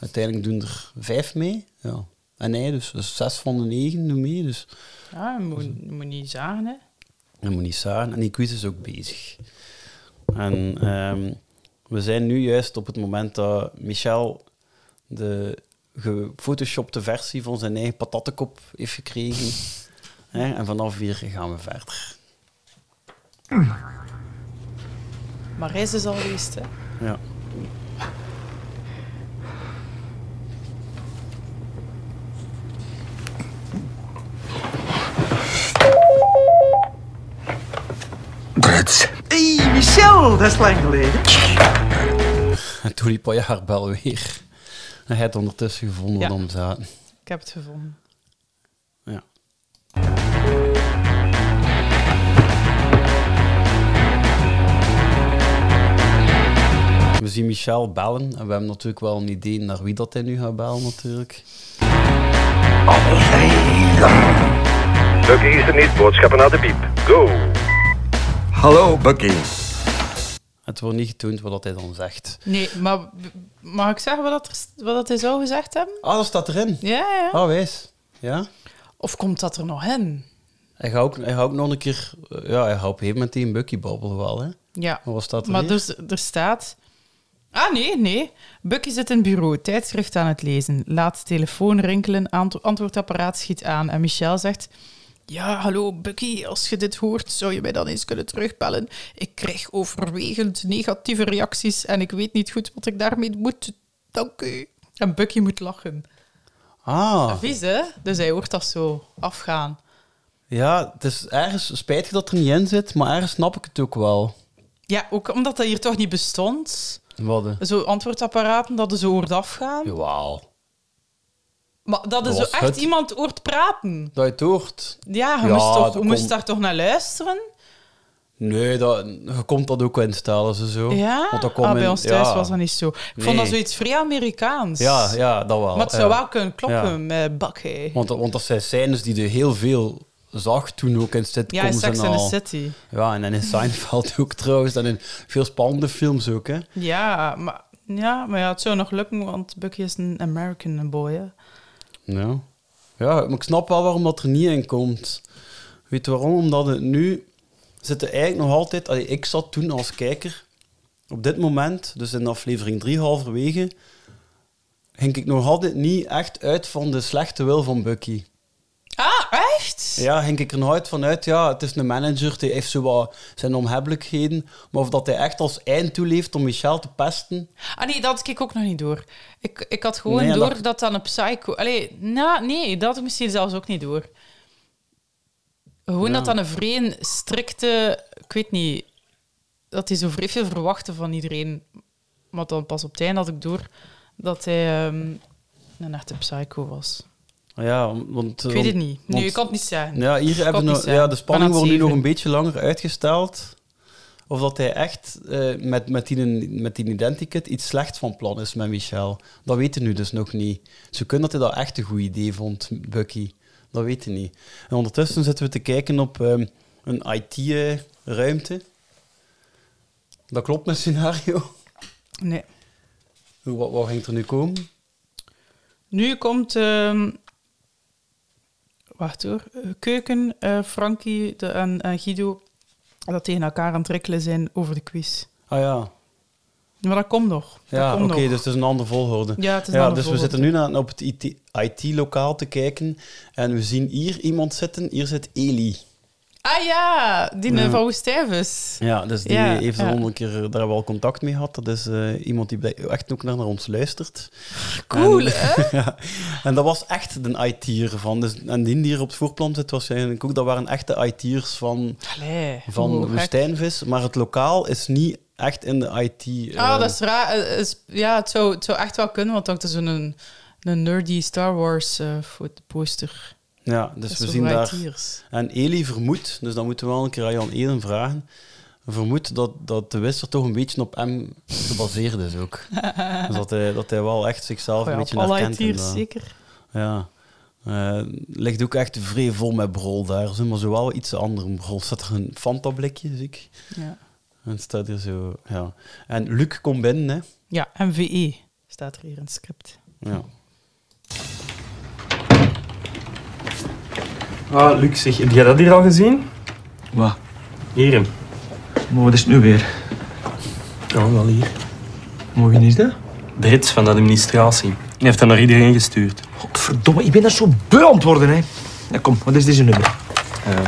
[SPEAKER 1] Uiteindelijk doen er vijf mee. Ja. En hij dus, dus zes van de negen doen mee. Dus
[SPEAKER 5] Ja, je moet, je moet niet zagen, hè.
[SPEAKER 1] dat moet niet zagen. En die quiz is ook bezig. En ehm, we zijn nu juist op het moment dat Michel de gefotoshopte versie van zijn eigen patatekop heeft gekregen. Hè, en vanaf hier gaan we verder.
[SPEAKER 5] Maar hij is dus al geweest, hè.
[SPEAKER 1] Ja.
[SPEAKER 6] Brits.
[SPEAKER 7] Hey, Michel, dat is lang geleden.
[SPEAKER 1] En toen liep al je haarbel weer. En hij had ondertussen gevonden
[SPEAKER 5] Ja.
[SPEAKER 1] wat hem zaten.
[SPEAKER 5] Ik heb het gevonden.
[SPEAKER 1] Ja. We zien Michel bellen en we hebben natuurlijk wel een idee naar wie dat hij nu gaat bellen natuurlijk.
[SPEAKER 8] Bucky is er niet, boodschappen naar de piep. Go!
[SPEAKER 6] Hallo, Bucky.
[SPEAKER 1] En Het wordt niet getoond wat dat hij dan zegt.
[SPEAKER 5] Nee, maar b- mag ik zeggen wat, dat er- wat dat hij zou gezegd hebben?
[SPEAKER 1] Ah, dat staat erin.
[SPEAKER 5] Ja, ja.
[SPEAKER 1] Ah, wijs. Ja.
[SPEAKER 5] Of komt dat er nog in?
[SPEAKER 1] Hij gaat ook, hij gaat ook nog een keer... eh, Ja, hij gaat op een gegeven moment die een Bucky babbelen wel, hè.
[SPEAKER 5] Ja.
[SPEAKER 1] Maar wat staat er
[SPEAKER 5] Maar
[SPEAKER 1] hier?
[SPEAKER 5] dus, er staat... Ah, nee, nee. Bucky zit in bureau, tijdschrift aan het lezen. Laat telefoon rinkelen, aant- antwoordapparaat schiet aan. En Michel zegt... Ja, hallo Bucky, als je dit hoort, zou je mij dan eens kunnen terugbellen? Ik krijg overwegend negatieve reacties en ik weet niet goed wat ik daarmee moet. Dank u. En Bucky moet lachen.
[SPEAKER 1] Ah,
[SPEAKER 5] Vies, hè? Dus hij hoort dat zo afgaan.
[SPEAKER 1] ja. Het is ergens spijtig dat er niet in zit, maar ergens snap ik het ook wel.
[SPEAKER 5] Ja, ook omdat dat hier toch niet bestond.
[SPEAKER 1] Wat? hè?
[SPEAKER 5] Zo antwoordapparaten dat er zo hoort afgaan.
[SPEAKER 1] Jawel.
[SPEAKER 5] Maar dat
[SPEAKER 1] Dat
[SPEAKER 5] is zo
[SPEAKER 1] was
[SPEAKER 5] echt
[SPEAKER 1] het.
[SPEAKER 5] iemand hoort praten.
[SPEAKER 1] Dat je het hoort.
[SPEAKER 5] Ja, je
[SPEAKER 1] Ja,
[SPEAKER 5] moest, toch,
[SPEAKER 1] dat
[SPEAKER 5] je moest
[SPEAKER 1] kon-
[SPEAKER 5] daar toch naar luisteren?
[SPEAKER 1] Nee, dat, je komt dat ook wel instellen, ze zo.
[SPEAKER 5] Ja,
[SPEAKER 1] Oh, Want dat kon
[SPEAKER 5] ah, bij
[SPEAKER 1] men-
[SPEAKER 5] ons thuis
[SPEAKER 1] ja.
[SPEAKER 5] was dat niet zo. Ik
[SPEAKER 1] Nee.
[SPEAKER 5] vond dat zoiets vrij Amerikaans.
[SPEAKER 1] Ja, ja, dat wel.
[SPEAKER 5] Maar het
[SPEAKER 1] ja.
[SPEAKER 5] zou wel kunnen kloppen
[SPEAKER 1] Ja.
[SPEAKER 5] met Bakke.
[SPEAKER 1] Want, dat- want dat zijn scènes die je heel veel zag toen ook in
[SPEAKER 5] Ja,
[SPEAKER 1] sitcoms en
[SPEAKER 5] in Sex and the
[SPEAKER 1] al.
[SPEAKER 5] City.
[SPEAKER 1] Ja, en in Seinfeld ook trouwens. En in veel spannende films ook, hè.
[SPEAKER 5] Ja maar, ja, maar ja, het zou nog lukken, want Bucky is een American boy. hè.
[SPEAKER 1] Ja. Ja, maar ik snap wel waarom dat er niet in komt. Weet je waarom? Omdat het nu zit er eigenlijk nog altijd... Allee, ik zat toen als kijker, op dit moment, dus in aflevering 3 halverwege, ging ik nog altijd niet echt uit van de slechte wil van Bucky.
[SPEAKER 5] Ah, echt?
[SPEAKER 1] Ja, ging ik er nog uit van uit, ja, het is een manager, die heeft zo wat zijn onhebbelijkheden, maar of dat hij echt als eind toeleeft om Michel te pesten...
[SPEAKER 5] Ah nee, dat had ik ook nog niet door. Ik, ik had gewoon
[SPEAKER 1] Nee, ja,
[SPEAKER 5] door
[SPEAKER 1] dat-
[SPEAKER 5] dat... dan een psycho... Allee, na, nee, dat had ik misschien zelfs ook niet door. Gewoon
[SPEAKER 1] Ja.
[SPEAKER 5] dat dan een vreemd, strikte... Ik weet niet... Dat hij zo vreemd veel verwachtte van iedereen. Maar dan pas op het einde had ik door dat hij ehm, een echte psycho was.
[SPEAKER 1] Ja, want...
[SPEAKER 5] Ik weet het niet.
[SPEAKER 1] want-
[SPEAKER 5] Nee, ik kan het niet zeggen.
[SPEAKER 1] Ja, hier hebben we
[SPEAKER 5] niet
[SPEAKER 1] nog-
[SPEAKER 5] zeggen.
[SPEAKER 1] ja, de spanning
[SPEAKER 5] Ik ben aan het
[SPEAKER 1] wordt nu nog
[SPEAKER 5] zeven.
[SPEAKER 1] een beetje langer uitgesteld. Of dat hij echt eh, met, met, die, met die identikit iets slechts van plan is met Michel. Dat weten we nu dus nog niet. Ze kunnen dat hij dat echt een goed idee vond, Bucky. Dat weten we niet. En ondertussen zitten we te kijken op ehm, een IT-ruimte. Dat klopt met scenario.
[SPEAKER 5] Nee.
[SPEAKER 1] Hoe- Wat, wat ging er nu komen?
[SPEAKER 5] Nu komt. ehm, wacht hoor. eh, Keuken, eh, Frankie de, en en Guido. Dat tegen elkaar aan het rikkelen zijn over de quiz.
[SPEAKER 1] Ah ja,
[SPEAKER 5] Maar dat komt nog. Dat
[SPEAKER 1] Ja,
[SPEAKER 5] komt
[SPEAKER 1] oké,
[SPEAKER 5] nog.
[SPEAKER 1] dus het is een andere volgorde.
[SPEAKER 5] Ja, het is een
[SPEAKER 1] ja,
[SPEAKER 5] andere
[SPEAKER 1] dus we
[SPEAKER 5] volgorde.
[SPEAKER 1] zitten nu naar, op het IT IT-lokaal te kijken en we zien hier iemand zitten. Hier zit Eli.
[SPEAKER 5] Ah ja, die
[SPEAKER 1] Ja.
[SPEAKER 5] van Woestijvis.
[SPEAKER 1] Ja, dus die
[SPEAKER 5] Ja,
[SPEAKER 1] heeft
[SPEAKER 5] ja.
[SPEAKER 1] al een keer, eh, daar hebben we al contact mee gehad. Dat is eh, iemand die blij- echt ook naar, naar ons luistert.
[SPEAKER 5] Cool,
[SPEAKER 1] En-
[SPEAKER 5] hè?
[SPEAKER 1] ja. En dat was echt de IT'er van. Dus, en die die hier op het voorplan zit, was eigenlijk ook, dat waren echte IT'ers van,
[SPEAKER 5] Allee,
[SPEAKER 1] van
[SPEAKER 5] hoe gek.
[SPEAKER 1] Woestijnvis. Maar het lokaal is niet echt in de IT.
[SPEAKER 5] Ah,
[SPEAKER 1] eh,
[SPEAKER 5] dat is raar. Eh, is- Ja, het zou, het zou echt wel kunnen, want dat is een, een nerdy Star Wars eh, voor de poster.
[SPEAKER 1] Ja, dus
[SPEAKER 5] Dat
[SPEAKER 1] we
[SPEAKER 5] is
[SPEAKER 1] zien
[SPEAKER 5] voor
[SPEAKER 1] daar...
[SPEAKER 5] IT'ers.
[SPEAKER 1] En Eli vermoedt, dus dan moeten we wel een keer aan Jan Eden vragen, vermoedt dat, dat de wisser toch een beetje op hem gebaseerd is ook. dus dat hij, dat hij wel echt zichzelf
[SPEAKER 5] Oh ja,
[SPEAKER 1] een beetje
[SPEAKER 5] op alle
[SPEAKER 1] herkent. in
[SPEAKER 5] IT'ers,
[SPEAKER 1] dat.
[SPEAKER 5] zeker.
[SPEAKER 1] Ja. Eh, ligt ook echt vrij vol met brol daar, zo, maar zo wel iets anders. Brol staat er een Fanta-blikje, zie ik.
[SPEAKER 5] Ja.
[SPEAKER 1] En het staat er zo, ja. En Luc komt binnen, hè.
[SPEAKER 5] ja, MVE staat er hier in het script.
[SPEAKER 1] Ja.
[SPEAKER 9] Ah, Luc, zeg, heb jij dat hier al gezien?
[SPEAKER 6] Wat?
[SPEAKER 9] Hier hem.
[SPEAKER 6] Maar wat is het nu weer?
[SPEAKER 9] Oh, wel hier.
[SPEAKER 6] Maar wie is dat?
[SPEAKER 9] De hits van de administratie. Die heeft dat naar iedereen gestuurd.
[SPEAKER 6] Godverdomme, ik ben daar zo beu aan het worden, hè. Ja, kom, wat is deze nummer?
[SPEAKER 9] Eh,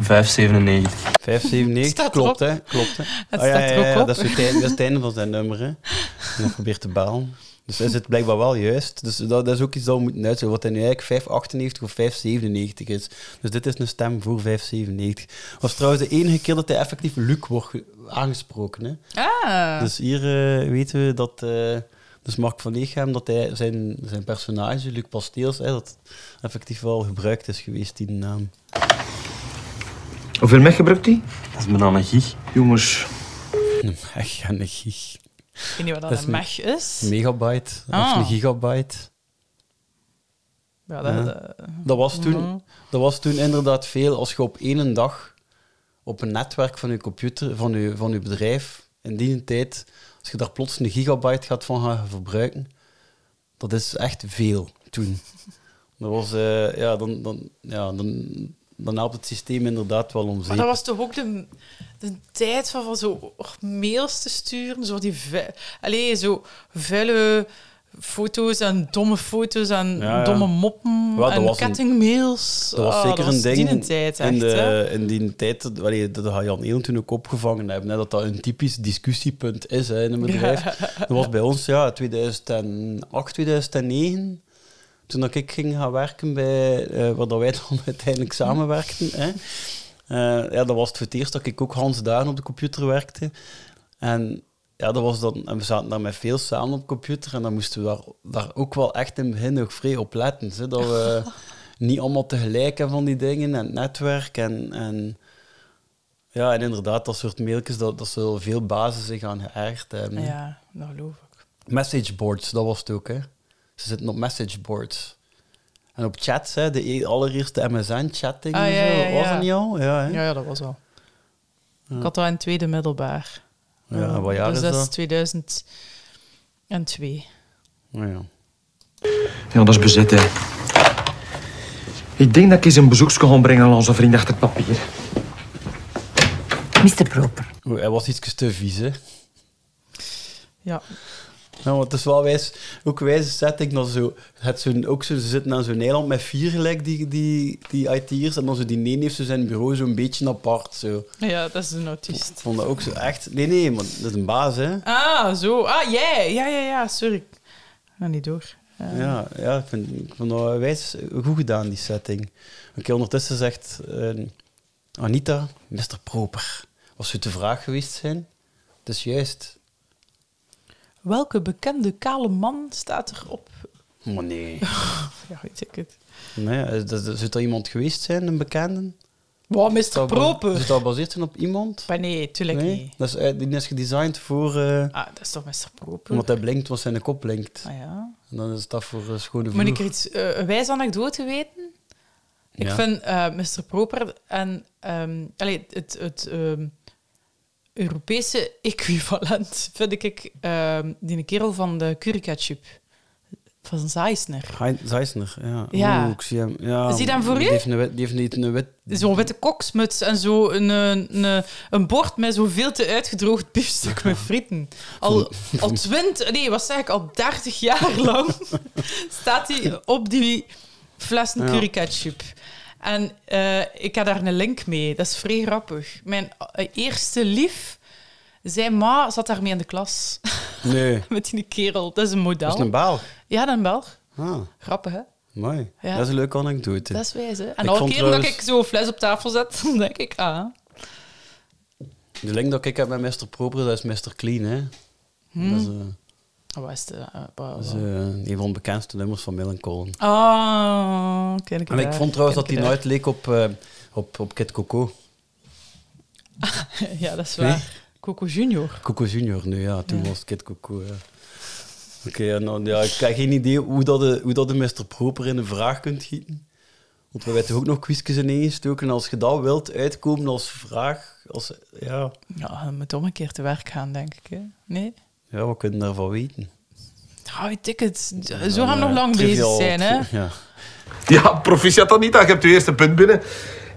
[SPEAKER 9] 597.
[SPEAKER 1] 579,
[SPEAKER 5] Staat
[SPEAKER 1] klopt,
[SPEAKER 5] erop.
[SPEAKER 1] hè. Klopt, hè.
[SPEAKER 5] Het
[SPEAKER 1] Ah, ja,
[SPEAKER 5] staat
[SPEAKER 1] ja,
[SPEAKER 5] er ook
[SPEAKER 1] ja,
[SPEAKER 5] op.
[SPEAKER 1] Dat is, het einde, dat is het einde van zijn nummer. Hè. En hij probeert te bellen. Dus hij zit blijkbaar wel juist. Dus dat, dat is ook iets dat we moeten uitzoeken. Wat hij nu eigenlijk 598 of 597 is. Dus dit is een stem voor 597. was trouwens de enige keer dat hij effectief Luc wordt ge- aangesproken. Hè.
[SPEAKER 5] Ah,
[SPEAKER 1] Dus hier eh, weten we dat... eh, dus Mark van Leeghem, dat hij zijn, zijn personage, Luc Pasteels, hè, dat effectief wel gebruikt is geweest, ehm, die naam.
[SPEAKER 6] Hoeveel mech gebruikt die?
[SPEAKER 9] Dat is bijna een gig.
[SPEAKER 6] Jongens,
[SPEAKER 1] Echt een gig.
[SPEAKER 5] ik weet niet wat dat,
[SPEAKER 1] dat is
[SPEAKER 5] een mech is.
[SPEAKER 1] Megabyte of
[SPEAKER 5] Ah.
[SPEAKER 1] een gigabyte.
[SPEAKER 5] Ja, dat,
[SPEAKER 1] Ja.
[SPEAKER 5] dat-
[SPEAKER 1] Dat was, toen, dat was toen inderdaad veel. Als je op één dag op een netwerk van je computer, van je, van je bedrijf, in die tijd, als je daar plots een gigabyte gaat van gaan verbruiken, dat is echt veel toen. Dat was, eh, ja, dan, dan, ja, dan, dan helpt het systeem inderdaad wel om
[SPEAKER 5] Maar
[SPEAKER 1] zeep.
[SPEAKER 5] dat was toch ook de, de tijd van, van zo och, mails te sturen, zo die vu- Allee, zo vuile foto's en domme foto's en
[SPEAKER 1] Ja, ja.
[SPEAKER 5] domme moppen
[SPEAKER 1] Ja, dat
[SPEAKER 5] en
[SPEAKER 1] was een-
[SPEAKER 5] kettingmails.
[SPEAKER 1] Dat was
[SPEAKER 5] Ah,
[SPEAKER 1] zeker een
[SPEAKER 5] was
[SPEAKER 1] ding.
[SPEAKER 5] Die tijd, echt.
[SPEAKER 1] in,
[SPEAKER 5] hè.
[SPEAKER 1] de, in die tijd, dat- allee, dat had Jan Eel toen ook opgevangen hebben, hè, dat dat een typisch discussiepunt is hè, in een bedrijf. Dat was bij ons ja, 2008, 2009. Toen dat ik ging gaan werken bij eh, waar dat wij dan uiteindelijk samenwerkten. Hè. Eh, ja, dat was het voor het eerst dat ik ook Hans Daan op de computer werkte. En ja, dat was dan, en we zaten daar met veel samen op computer en dan moesten we daar, daar ook wel echt in het begin nog vrij op letten. Zo, dat we niet allemaal tegelijk hebben van die dingen en het netwerk. En, en, ja, en inderdaad, dat soort mailtjes, dat, dat zullen veel bazen zich aan geërgerd hebben.
[SPEAKER 5] Ja, dat geloof ik.
[SPEAKER 1] Messageboards, dat was het ook, hè. Ze zitten op messageboards. En op chats, hè, de e- allereerste MSN-chatting
[SPEAKER 5] Ah,
[SPEAKER 1] en
[SPEAKER 5] ja,
[SPEAKER 1] zo.
[SPEAKER 5] ja,
[SPEAKER 1] Was
[SPEAKER 5] ja.
[SPEAKER 1] dat niet al? Ja, hè?
[SPEAKER 5] Ja, ja, dat was wel. Ik had dat in het tweede middelbaar.
[SPEAKER 1] Ja, wat jaar
[SPEAKER 5] dus
[SPEAKER 1] is
[SPEAKER 5] dat?
[SPEAKER 1] dat?
[SPEAKER 5] is 2002.
[SPEAKER 1] Oh, ja.
[SPEAKER 6] Ja, dat is bezet, hè. Ik denk dat ik eens een bezoekje ga brengen aan onze vriend achter het papier.
[SPEAKER 10] Mr. Proper.
[SPEAKER 1] Oeh, Hij was iets te vies, hè.
[SPEAKER 5] Ja,
[SPEAKER 1] Ja, want het is wel wijs, ook wijze setting dat zo, het zo'n- ook zo, ze zitten aan zo'n eiland met vier gelijk, die, die, die IT'ers, en dan zo die nee heeft zo zijn bureau zo'n beetje apart, zo.
[SPEAKER 5] ja dat is een
[SPEAKER 1] Ik
[SPEAKER 5] autist.
[SPEAKER 1] vond dat ook zo echt, nee, nee, maar dat is een baas, hè.
[SPEAKER 5] Ah, zo. Ah, jij. Ja, ja, ja. Sorry. Ik ga niet door. Eh,
[SPEAKER 1] Ja, ja ik, vind, ik vond dat wijs goed gedaan, die setting. Oké, ondertussen zegt eh, Anita, Mr. Proper, als u te vraag geweest zijn, het is juist.
[SPEAKER 5] Welke bekende kale man staat erop?
[SPEAKER 1] Maar nee.
[SPEAKER 5] Ja, weet ik het.
[SPEAKER 1] nee eh, dat- dat- zou er iemand geweest zijn, een bekende?
[SPEAKER 5] Wow, Mr.
[SPEAKER 1] Zou dat- Zou
[SPEAKER 5] Proper.
[SPEAKER 1] dat gebaseerd zijn op iemand?
[SPEAKER 5] Maar nee, tuurlijk niet.
[SPEAKER 1] Dat is, eh, die is gedesigned voor... eh,
[SPEAKER 5] Ah, dat is toch Mr. Proper?
[SPEAKER 1] omdat hij blinkt, want zijn kop blinkt.
[SPEAKER 5] Ah, ja.
[SPEAKER 1] En dan is dat voor eh, schone
[SPEAKER 5] Moet
[SPEAKER 1] vloer.
[SPEAKER 5] ik er iets, eh, een wijs anekdote weten? Ik
[SPEAKER 1] Ja.
[SPEAKER 5] vind eh, Mr. Proper en ehm, allee, het, het ehm, Europese equivalent vind ik ehm, die kerel van de curryketchup. Van Zeisner.
[SPEAKER 1] Hein- Zeisner, ja.
[SPEAKER 5] Ja.
[SPEAKER 1] Oeh, ik zie hem. Ja,
[SPEAKER 5] Is die dan voor
[SPEAKER 1] die
[SPEAKER 5] u?
[SPEAKER 1] Heeft een wit, die heeft niet een wit...
[SPEAKER 5] Dus Zo'n witte koksmuts en zo een, een, een- een bord met zoveel te uitgedroogd biefstuk met frieten. Al, al twintig, nee, wat zeg ik, al dertig jaar lang staat hij op die flessen
[SPEAKER 1] Ja.
[SPEAKER 5] curry ketchup. En eh, ik heb daar een link mee, dat is vrij grappig. Mijn eh, eerste lief, zijn ma zat daarmee in de klas.
[SPEAKER 1] Nee.
[SPEAKER 5] Met die kerel, dat is een model.
[SPEAKER 1] Dat is een baal.
[SPEAKER 5] Ja, dan wel.
[SPEAKER 1] Ah,
[SPEAKER 5] Grappig, hè?
[SPEAKER 1] mooi.
[SPEAKER 5] Ja.
[SPEAKER 1] Dat is een leuke anekdote.
[SPEAKER 5] Dat is wijs, hè? En
[SPEAKER 1] Ik
[SPEAKER 5] elke
[SPEAKER 1] vond
[SPEAKER 5] keer dat
[SPEAKER 1] trouwens-
[SPEAKER 5] ik zo'n fles op tafel zet, dan denk ik, ah...
[SPEAKER 1] De link dat ik heb met Mr. Proper, dat is Mr. Clean, hè. Dat is, eh,
[SPEAKER 5] Oh, Wat is de... eh, wa- wa-
[SPEAKER 1] dat is, eh, een van de bekendste nummers van Millen Colin.
[SPEAKER 5] Ah, ken ik
[SPEAKER 1] En ik
[SPEAKER 5] daar,
[SPEAKER 1] vond trouwens
[SPEAKER 5] ken
[SPEAKER 1] dat
[SPEAKER 5] ik
[SPEAKER 1] die
[SPEAKER 5] daar.
[SPEAKER 1] nooit leek op, eh, op, op Kid Coco.
[SPEAKER 5] Ja, dat is waar. Coco Junior.
[SPEAKER 1] Coco Junior nu, ja. Toen was het Kid Coco, ja. Oké, ja, nou, ja, ik heb geen idee hoe dat, de, hoe dat de Mr. Proper in een vraag kunt gieten. Want we hebben toch ook nog quizjes ineengestoken. Als je dat wilt uitkomen als vraag, als, ja,
[SPEAKER 5] Ja, je moet om een keer te werk gaan, denk ik. Hè? Nee?
[SPEAKER 1] ja, wat kunnen we daarvan weten?
[SPEAKER 5] Hou je ticket. Zo gaan we nog
[SPEAKER 1] Eh,
[SPEAKER 5] lang bezig
[SPEAKER 1] triviaal-
[SPEAKER 5] zijn, hè?
[SPEAKER 1] Ja.
[SPEAKER 8] Ja, proficiat Anita, je hebt je eerste punt binnen.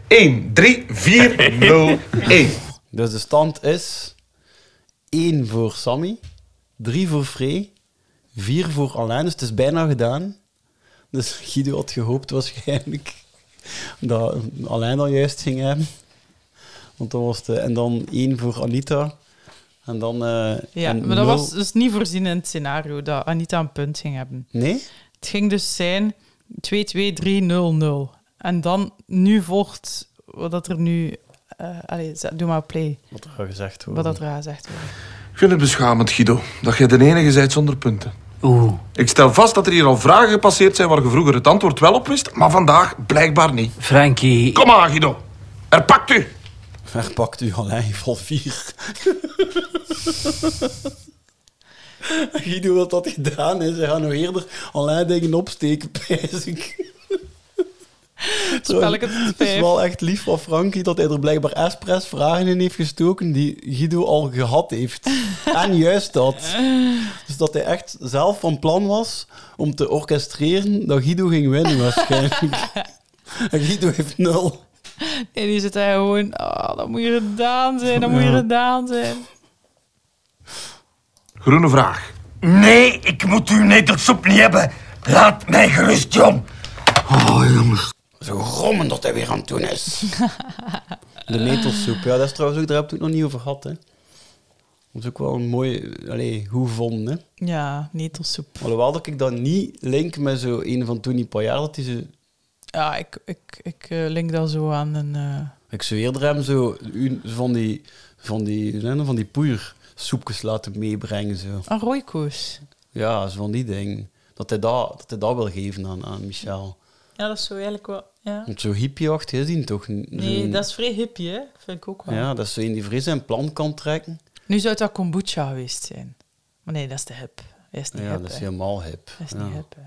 [SPEAKER 8] 1, 3, 4, 0, 1.
[SPEAKER 1] Dus de stand is 1 voor Sammy, 3 voor Frey, 4 voor Alain. Dus het is bijna gedaan. Dus Guido had gehoopt waarschijnlijk dat Alain dat juist ging hebben. Want dan was het, eh, en dan 1 voor Anita. En dan. eh,
[SPEAKER 5] Ja,
[SPEAKER 1] en
[SPEAKER 5] maar dat
[SPEAKER 1] nul-
[SPEAKER 5] was dus niet voorzien in het scenario dat Anita een punt ging hebben.
[SPEAKER 1] Nee?
[SPEAKER 5] Het ging dus zijn 2-2-3-0-0. En dan, nu volgt wat dat er nu... eh allee, zet- doe maar play.
[SPEAKER 1] Wat er al gezegd wordt.
[SPEAKER 5] Wat dat er gezegd wordt.
[SPEAKER 8] Ik vind het beschamend, Guido, dat jij de enige bent zonder punten.
[SPEAKER 9] Oeh.
[SPEAKER 8] Ik stel vast dat er hier al vragen gepasseerd zijn waar je vroeger het antwoord wel op wist, maar vandaag blijkbaar niet.
[SPEAKER 9] Frankie.
[SPEAKER 8] Kom aan, Guido. Er pakt u.
[SPEAKER 1] Waar pakt u Alain vol 4? Guido wat dat gedaan is. Hij gaat nog eerder Alain dingen opsteken, pijs ik.
[SPEAKER 5] Spelletje tot
[SPEAKER 1] Het is
[SPEAKER 5] vijf.
[SPEAKER 1] wel echt lief van Frankie dat hij er blijkbaar expres vragen in heeft gestoken die Guido al gehad heeft. en juist dat. Dus dat hij echt zelf van plan was om te orchestreren dat Guido ging winnen waarschijnlijk. en Guido heeft nul.
[SPEAKER 5] En die zit daar gewoon, oh, dat moet je gedaan zijn, dat moet je gedaan zijn.
[SPEAKER 8] Groene vraag.
[SPEAKER 10] Nee, ik moet uw netelsoep niet hebben. Laat mij gerust, John.
[SPEAKER 1] Zo grommen dat hij weer aan het doen is. De netelsoep, ja, dat is trouwens ook, daar heb ik het nog niet over gehad. Hè. Dat is ook wel een mooi, allee, hoe vonden. Hè.
[SPEAKER 5] Ja, netelsoep.
[SPEAKER 1] Alhoewel dat ik dat niet link met zo een van Tony Payard, dat hij ze
[SPEAKER 5] Ja, ik, ik, ik eh, link dat zo aan een... eh,
[SPEAKER 1] Ik zweer er hem zo u- van die, van die, hoe zijn dat, van die poeiersoepjes laten meebrengen. Zo.
[SPEAKER 5] Een rooikoos.
[SPEAKER 1] Ja, zo van die ding. Dat hij dat, dat, hij dat wil geven aan, aan Michel.
[SPEAKER 5] Ja, dat is zo eigenlijk wel... Ja.
[SPEAKER 1] Want zo hippieachtig is die toch? n-
[SPEAKER 5] Nee,
[SPEAKER 1] zo'n-
[SPEAKER 5] dat is vrij hippie, hè? Vind ik ook wel.
[SPEAKER 1] Ja, dat is zo in die vrees zijn plan kan trekken.
[SPEAKER 5] Nu zou het dat kombucha geweest zijn. Maar nee, dat is te hip. Hij is niet
[SPEAKER 1] ja,
[SPEAKER 5] hip,
[SPEAKER 1] dat is
[SPEAKER 5] hè.
[SPEAKER 1] helemaal hip.
[SPEAKER 5] Dat is
[SPEAKER 1] ja.
[SPEAKER 5] niet hip, hè.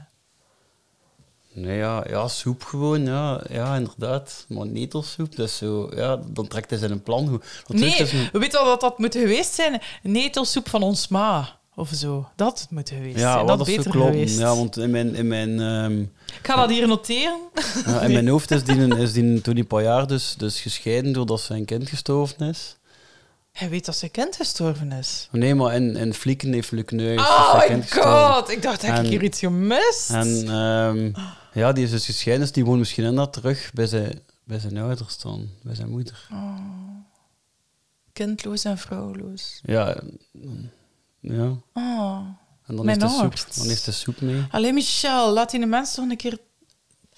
[SPEAKER 1] Nee, ja, ja, soep gewoon, ja, ja, inderdaad. Maar netelsoep, dat is zo, ja, dan trekt hij zijn plan goed. Want het is
[SPEAKER 5] Nee,
[SPEAKER 1] een-
[SPEAKER 5] weet al wat dat moet geweest zijn? Netelsoep van ons ma. Of zo. Dat het moet geweest
[SPEAKER 1] ja, wat
[SPEAKER 5] zijn. Dat
[SPEAKER 1] dat
[SPEAKER 5] beter
[SPEAKER 1] zou kloppen.
[SPEAKER 5] geweest.
[SPEAKER 1] Ja, want in mijn, in mijn ehm,
[SPEAKER 5] Ik ga dat hier noteren.
[SPEAKER 1] Ja, in mijn hoofd is die, een- is die een Tony Payard dus, dus gescheiden doordat zijn kind gestorven is. Oh,
[SPEAKER 5] Hij weet dat zijn kind gestorven is.
[SPEAKER 1] Nee, maar in, in Flieken heeft Luc Neus
[SPEAKER 5] Oh
[SPEAKER 1] zijn
[SPEAKER 5] my
[SPEAKER 1] kind gestorven.
[SPEAKER 5] god, ik dacht, heb
[SPEAKER 1] En-
[SPEAKER 5] ik hier iets gemist?
[SPEAKER 1] En ehm, ja, die is dus gescheiden, dus die woont misschien inderdaad terug bij zijn, bij zijn ouders dan, bij zijn moeder.
[SPEAKER 5] Kindloos en vrouwloos.
[SPEAKER 1] Ja, mm, ja.
[SPEAKER 5] Oh.
[SPEAKER 1] en dan
[SPEAKER 5] Mijn
[SPEAKER 1] heeft, de soep,
[SPEAKER 5] hart.
[SPEAKER 1] dan heeft de soep mee.
[SPEAKER 5] Allee, Michel, laat die mensen toch een keer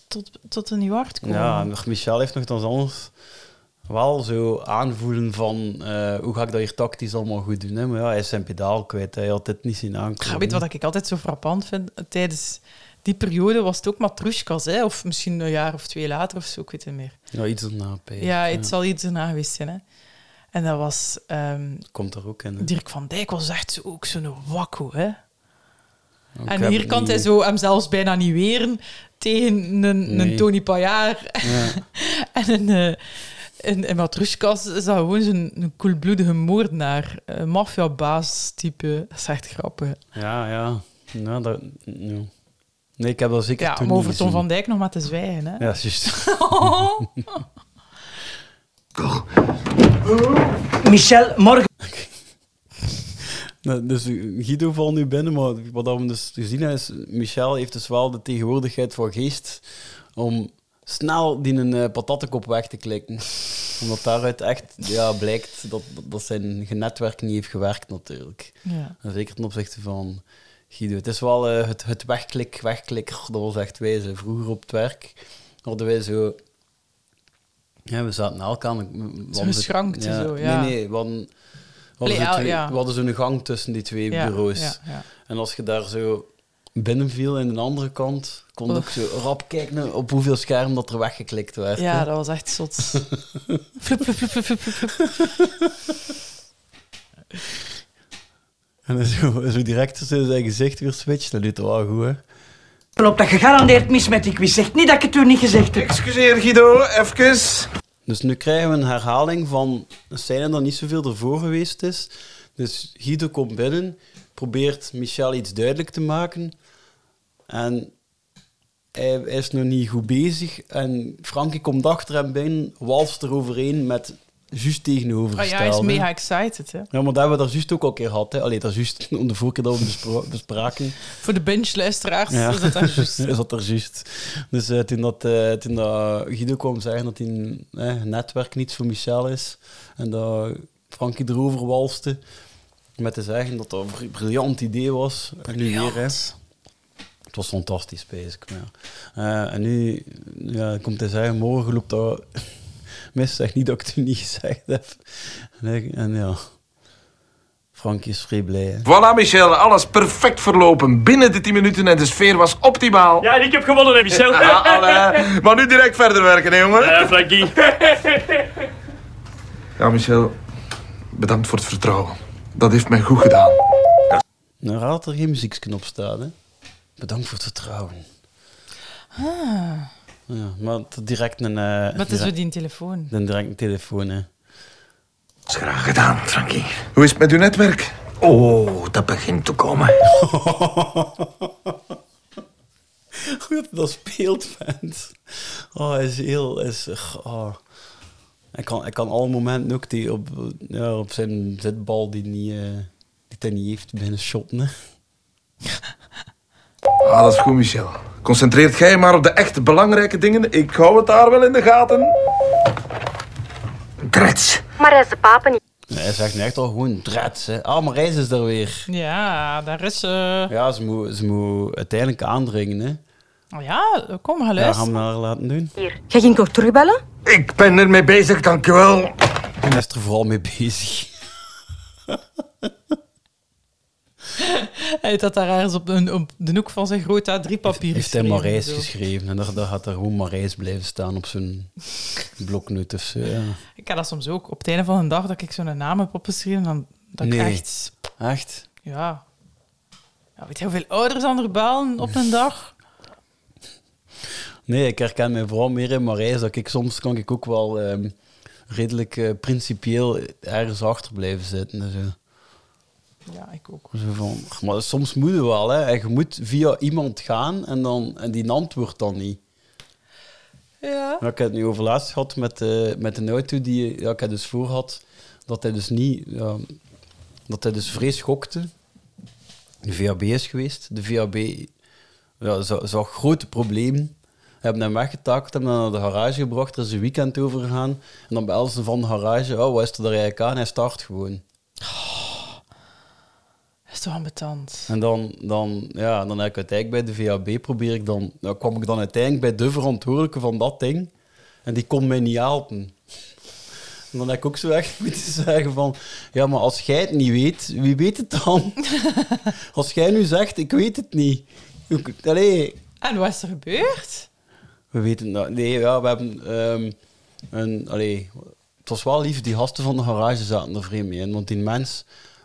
[SPEAKER 5] tot, tot een nieuw hart komen.
[SPEAKER 1] Ja, maar Michel heeft nog dan anders wel zo aanvoelen van eh, hoe ga ik dat hier tactisch allemaal goed doen. Hè? Maar ja, hij is zijn pedaal kwijt, hij had dit niet zien aankomen.
[SPEAKER 5] Ja, weet je wat ik altijd zo frappant vind? eh, Tijdens die periode was het ook matroeskas, hè? of misschien een jaar of twee later of zo, ik weet het niet meer.
[SPEAKER 1] Ja, iets erna, P.
[SPEAKER 5] Ja, het zal iets erna geweest zijn. Hè? En dat was... ehm,
[SPEAKER 1] Komt er ook in. hè?
[SPEAKER 5] Dirk van Dijk was echt zo, ook zo'n wakko, hè?
[SPEAKER 1] Ik
[SPEAKER 5] en
[SPEAKER 1] heb
[SPEAKER 5] hier
[SPEAKER 1] het
[SPEAKER 5] kan
[SPEAKER 1] niet-
[SPEAKER 5] hij zo hem zelfs bijna niet weren tegen een,
[SPEAKER 1] Nee.
[SPEAKER 5] een Tony Payard
[SPEAKER 1] Ja.
[SPEAKER 5] en een... eh, in, in Matrushkas is dat gewoon zo'n een koelbloedige moordenaar. Een maffiabaas-type. Dat is echt grappig.
[SPEAKER 1] Ja, ja. Nou, dat, ja. Nee, ik heb dat zeker
[SPEAKER 5] Ja,
[SPEAKER 1] toen
[SPEAKER 5] om
[SPEAKER 1] niet
[SPEAKER 5] over Tom
[SPEAKER 1] gezien.
[SPEAKER 5] van Dijk nog maar te zwijgen. Hè?
[SPEAKER 1] Ja, juist.
[SPEAKER 4] Michel, morgen.
[SPEAKER 1] Nou, dus Guido valt nu binnen, maar wat we dus gezien hebben is... Michel heeft dus wel de tegenwoordigheid van geest om snel die een eh, patatekop weg te klikken. Omdat daaruit echt ja, blijkt dat, dat zijn genetwerk niet heeft gewerkt, natuurlijk.
[SPEAKER 5] Ja.
[SPEAKER 1] En Zeker ten opzichte van Guido. Het is wel eh, het, het wegklik, wegklik. Goh, Dat was echt wij. Ze. Vroeger op het werk hadden wij zo... Ja, we zaten elk aan... we hadden
[SPEAKER 5] Zo geschrankt en zo, ja.
[SPEAKER 1] Nee, nee. We hadden, we hadden,
[SPEAKER 5] Allee,
[SPEAKER 1] zo
[SPEAKER 5] ja,
[SPEAKER 1] twee-
[SPEAKER 5] ja.
[SPEAKER 1] we hadden zo'n gang tussen die twee
[SPEAKER 5] Ja,
[SPEAKER 1] bureaus.
[SPEAKER 5] ja, ja.
[SPEAKER 1] En als je daar zo binnenviel in de andere kant, kon je ook zo rap kijken op hoeveel scherm dat er weggeklikt werd.
[SPEAKER 5] Ja, dat was echt zot. Flup, flup, flup, flup, flup, flup.
[SPEAKER 1] En zo, zo direct zo zijn gezicht weer switcht. Dat doet wel goed, hè.
[SPEAKER 4] Loopt dat gegarandeerd mis met die quiz. Zeg niet dat ik het u niet gezegd heb.
[SPEAKER 8] Excuseer Guido, even.
[SPEAKER 1] Dus nu krijgen we een herhaling van een scène dat niet zoveel ervoor geweest is. Dus Guido komt binnen, probeert Michel iets duidelijk te maken. En hij, hij is nog niet goed bezig. En Frankie komt achter hem binnen, walst eroverheen met juist
[SPEAKER 5] Ah ja,
[SPEAKER 1] tegenovergestelde.
[SPEAKER 5] hij is mega excited. Hè?
[SPEAKER 1] Ja, maar dat hebben we daar juist ook al een keer gehad. Hè. Allee, dat is juist om de vorige keer dat we bespro- bespraken.
[SPEAKER 5] Voor de benchluisteraars
[SPEAKER 1] Ja.
[SPEAKER 5] is dat daar juist.
[SPEAKER 1] is dat er juist. Dus eh, toen, dat, eh, toen dat Guido kwam zeggen dat hij eh, netwerk niets voor Michel is en dat Frankie erover walste met te zeggen dat dat een bri- briljant idee was. En nu weer, hè. Het was fantastisch, bezig. Maar, ja. Eh, en nu ja, komt hij zeggen, morgen loopt dat mis, zeg niet dat ik het u niet gezegd heb. En, ik- en ja, Frankie is vrij blij. hè.
[SPEAKER 8] Voilà Michel, alles perfect verlopen. Binnen de 10 minuten en de sfeer was optimaal.
[SPEAKER 4] Ja, en ik heb gewonnen, hè, Michel.
[SPEAKER 8] Ah, allee. Maar nu direct verder werken, hè, jongen.
[SPEAKER 4] Eh, Frankie.
[SPEAKER 8] Ja, Michel, bedankt voor het vertrouwen. Dat heeft mij goed gedaan.
[SPEAKER 1] Nou, raad dat er geen muzieksknop staat, hè. Bedankt voor het vertrouwen. Ja, maar het is direct een... eh
[SPEAKER 5] Ah. Wat is
[SPEAKER 1] direct-
[SPEAKER 5] voor die telefoon?
[SPEAKER 1] Dan direct een telefoon, hè.
[SPEAKER 10] Dat is graag gedaan, Frankie.
[SPEAKER 8] Hoe is het met uw netwerk?
[SPEAKER 10] Oh, dat begint te komen.
[SPEAKER 1] Hoe dat, dat speelt, mens. Oh, hij is heel... hij Is, oh. Hij kan, hij kan alle momenten ook die op, ja, op zijn zitbal die, niet, eh, die hij niet heeft binnen shotten. hè.
[SPEAKER 8] Ah, dat is goed, Michel. Concentreert jij maar op de echt belangrijke dingen. Ik hou het daar wel in de gaten.
[SPEAKER 10] Drets.
[SPEAKER 11] Maar hij is de papa niet.
[SPEAKER 1] Nee, hij zegt nu echt al gewoon drets. Hè. Ah, maar Reis is er weer.
[SPEAKER 5] Ja, daar is ze.
[SPEAKER 1] Ja, ze moet, ze moet uiteindelijk aandringen. Hè.
[SPEAKER 5] Oh ja, kom,
[SPEAKER 1] Ja,
[SPEAKER 5] ga
[SPEAKER 1] gaan
[SPEAKER 5] luisteren.
[SPEAKER 1] we haar laten doen.
[SPEAKER 11] Hier. Jij ging toch terugbellen?
[SPEAKER 10] Ik ben ermee bezig, dankjewel.
[SPEAKER 1] En hij is er vooral mee bezig.
[SPEAKER 5] Hij heeft dat daar ergens op de, op de hoek van zijn groota drie papieren
[SPEAKER 1] Heeft hij
[SPEAKER 5] geschreven,
[SPEAKER 1] Marijs
[SPEAKER 5] zo.
[SPEAKER 1] geschreven. En daar, daar gaat er gewoon Marijs blijven staan op zijn bloknoot of zo. Ja.
[SPEAKER 5] Ik heb dat soms ook. Op het einde van een dag dat ik zo'n naam heb opgeschreven, dan dat
[SPEAKER 1] Nee.
[SPEAKER 5] ik echt...
[SPEAKER 1] Echt?
[SPEAKER 5] Ja. ja. Weet je hoeveel ouders aan er bellen op een dag?
[SPEAKER 1] Nee, ik herken mij vooral meer in Marijs. Dat ik soms kan ik ook wel ehm, redelijk eh, principieel ergens achter blijven zitten. en zo.
[SPEAKER 5] Ja, ik ook.
[SPEAKER 1] Zo van, maar soms moet je wel, hè. En Je moet via iemand gaan en, dan, en die antwoordt dan niet.
[SPEAKER 5] Ja.
[SPEAKER 1] Ja, ik heb het nu over laatst gehad met, eh met een auto die ja, ik had dus voor had. Dat hij dus niet... ja, dat hij dus vrees schokte. De VAB is geweest. De VAB ja, za- zag grote problemen. Hebben hem weggetakeld, hebben hem naar de garage gebracht. Er is een weekend over gegaan. En dan belden ze van de garage. Oh, wat is er daar eigenlijk aan? Hij start gewoon.
[SPEAKER 5] Dat is toch ambetant.
[SPEAKER 1] En dan, dan, ja, dan heb ik uiteindelijk bij de VHB probeer ik dan, nou, kwam ik dan uiteindelijk bij de verantwoordelijke van dat ding. En die kon mij niet helpen. En dan heb ik ook zo echt moeten zeggen van, ja, maar als jij het niet weet, wie weet het dan? als jij nu zegt, ik weet het niet. Hoe- Allee,
[SPEAKER 5] En wat is er gebeurd?
[SPEAKER 1] we weten dat. Nee, ja, we hebben ehm, een. Allee, het was wel lief, die gasten van de garage zaten er vreemd mee in. Want die mens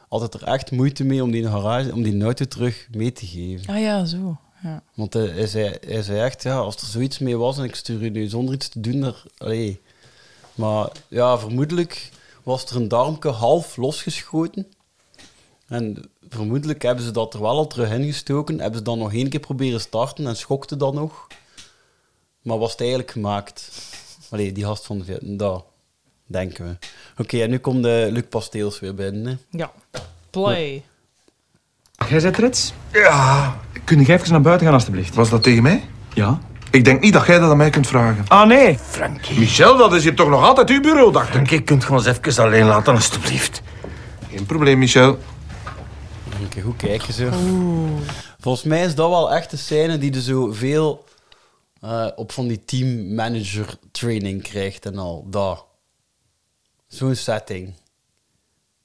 [SPEAKER 1] had het er echt moeite mee om die, garage, om die auto terug mee te geven.
[SPEAKER 5] Ah ja, zo. Ja.
[SPEAKER 1] Want eh, hij, zei, hij zei echt, ja, als er zoiets mee was en ik stuur je nu zonder iets te doen, daar, allee. Maar ja, vermoedelijk was er een darmke half losgeschoten. En vermoedelijk hebben ze dat er wel al terug ingestoken. Hebben ze dan nog één keer proberen starten en schokte dan nog. Maar was het eigenlijk gemaakt? Allee, die gast van de Viet- dat denken we. Oké, en nu komt de Luc Pasteels weer binnen. Hè.
[SPEAKER 5] Ja. Play.
[SPEAKER 6] Jij zet Rits?
[SPEAKER 8] Ja,
[SPEAKER 6] Kun jij even naar buiten gaan, alstublieft?
[SPEAKER 8] was dat tegen mij?
[SPEAKER 6] Ja.
[SPEAKER 8] Ik denk niet dat jij dat aan mij kunt vragen.
[SPEAKER 6] Ah, nee.
[SPEAKER 10] Frankie.
[SPEAKER 8] Michel, dat is hier toch nog altijd uw bureau, dacht ik.
[SPEAKER 10] Frankie, kunt je ons even alleen laten, alstublieft.
[SPEAKER 8] Geen probleem, Michel.
[SPEAKER 1] Een keer goed kijken, zo. Volgens mij is dat wel echt de scène die er zo veel eh, op van die teammanager training krijgt en al. Dat. Zo'n setting.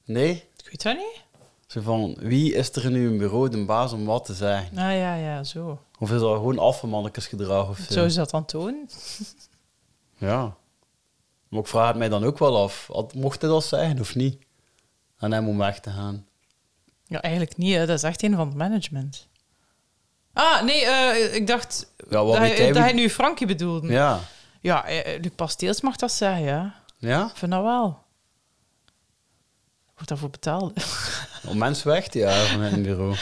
[SPEAKER 1] Nee?
[SPEAKER 5] Ik weet dat niet.
[SPEAKER 1] Zo van, wie is er nu in bureau de baas om wat te zeggen?
[SPEAKER 5] Ah ja, ja, zo.
[SPEAKER 1] Of is dat gewoon affemannetjesgedrag of zo?
[SPEAKER 5] Zou ze dat dan tonen?
[SPEAKER 1] Ja. Maar ik vraag het mij dan ook wel af. had- Mocht hij dat zeggen of niet? Aan hem om weg te gaan.
[SPEAKER 5] Ja, eigenlijk niet. Hè. Dat is echt een van het management. Ah, nee, eh, ik dacht
[SPEAKER 1] Ja, wat
[SPEAKER 5] dat,
[SPEAKER 1] weet
[SPEAKER 5] hij,
[SPEAKER 1] hij
[SPEAKER 5] dat
[SPEAKER 1] wie-
[SPEAKER 5] hij nu Frankie bedoelde.
[SPEAKER 1] Ja.
[SPEAKER 5] Ja, eh, eh, Luc Pasteels mag dat zeggen, ja.
[SPEAKER 1] Ja?
[SPEAKER 5] Ik vind dat wel. Wordt daarvoor betaald?
[SPEAKER 1] Om mensen weg te jagen van het bureau.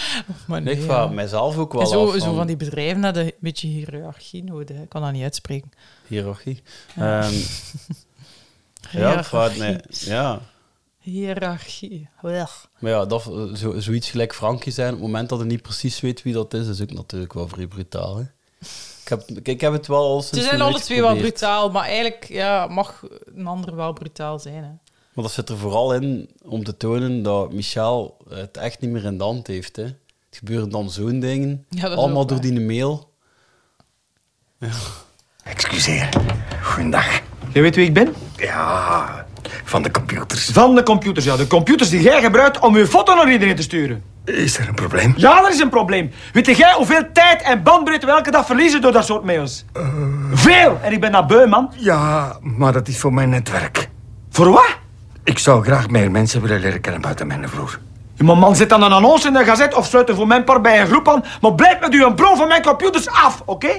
[SPEAKER 5] maar
[SPEAKER 1] Nee, ik
[SPEAKER 5] ja.
[SPEAKER 1] vraag mijzelf ook wel
[SPEAKER 5] zo,
[SPEAKER 1] af.
[SPEAKER 5] zo van die bedrijven dat een beetje hiërarchie nodig. hè. Ik kan dat niet uitspreken.
[SPEAKER 1] Hierarchie.
[SPEAKER 5] Ja.
[SPEAKER 1] Ehm, ja, ik vraag het mij. Ja.
[SPEAKER 5] Hiërarchie. Wel.
[SPEAKER 1] Maar ja, dat, zo, zoiets gelijk Frankie zijn, op het moment dat hij niet precies weet wie dat is, is ook natuurlijk wel vrij brutaal. Hè? Ik, heb, ik, ik heb het wel al sinds
[SPEAKER 5] Ze zijn
[SPEAKER 1] een
[SPEAKER 5] alle
[SPEAKER 1] reeks
[SPEAKER 5] twee wel
[SPEAKER 1] geprobeerd.
[SPEAKER 5] brutaal, maar eigenlijk ja, mag een ander wel brutaal zijn. Hè.
[SPEAKER 1] Maar dat zit er vooral in om te tonen dat Michel het echt niet meer in de hand heeft. Hè? Het gebeuren dan zo'n dingen.
[SPEAKER 5] Ja, dat is
[SPEAKER 1] Allemaal
[SPEAKER 5] ook
[SPEAKER 1] door
[SPEAKER 5] waar.
[SPEAKER 1] die mail.
[SPEAKER 10] Excuseer. Goedendag.
[SPEAKER 6] Jij weet wie ik ben?
[SPEAKER 10] Ja, van de computers.
[SPEAKER 6] Van de computers, ja. De computers die jij gebruikt om je foto naar iedereen te sturen.
[SPEAKER 10] Is er een probleem?
[SPEAKER 6] Ja, er is een probleem. Weet jij hoeveel tijd en bandbreedte we elke dag verliezen door dat soort mails? Veel! En ik ben dat beu, man.
[SPEAKER 10] Ja, maar dat is voor mijn netwerk.
[SPEAKER 6] Voor wat?
[SPEAKER 10] Ik zou graag meer mensen willen leren kennen buiten mijn vloer.
[SPEAKER 6] Ja, maar man, zet dan een annonce in de gazet of sluit er voor mijn part bij een groep aan. Maar blijf met uw bron van mijn computers af, oké?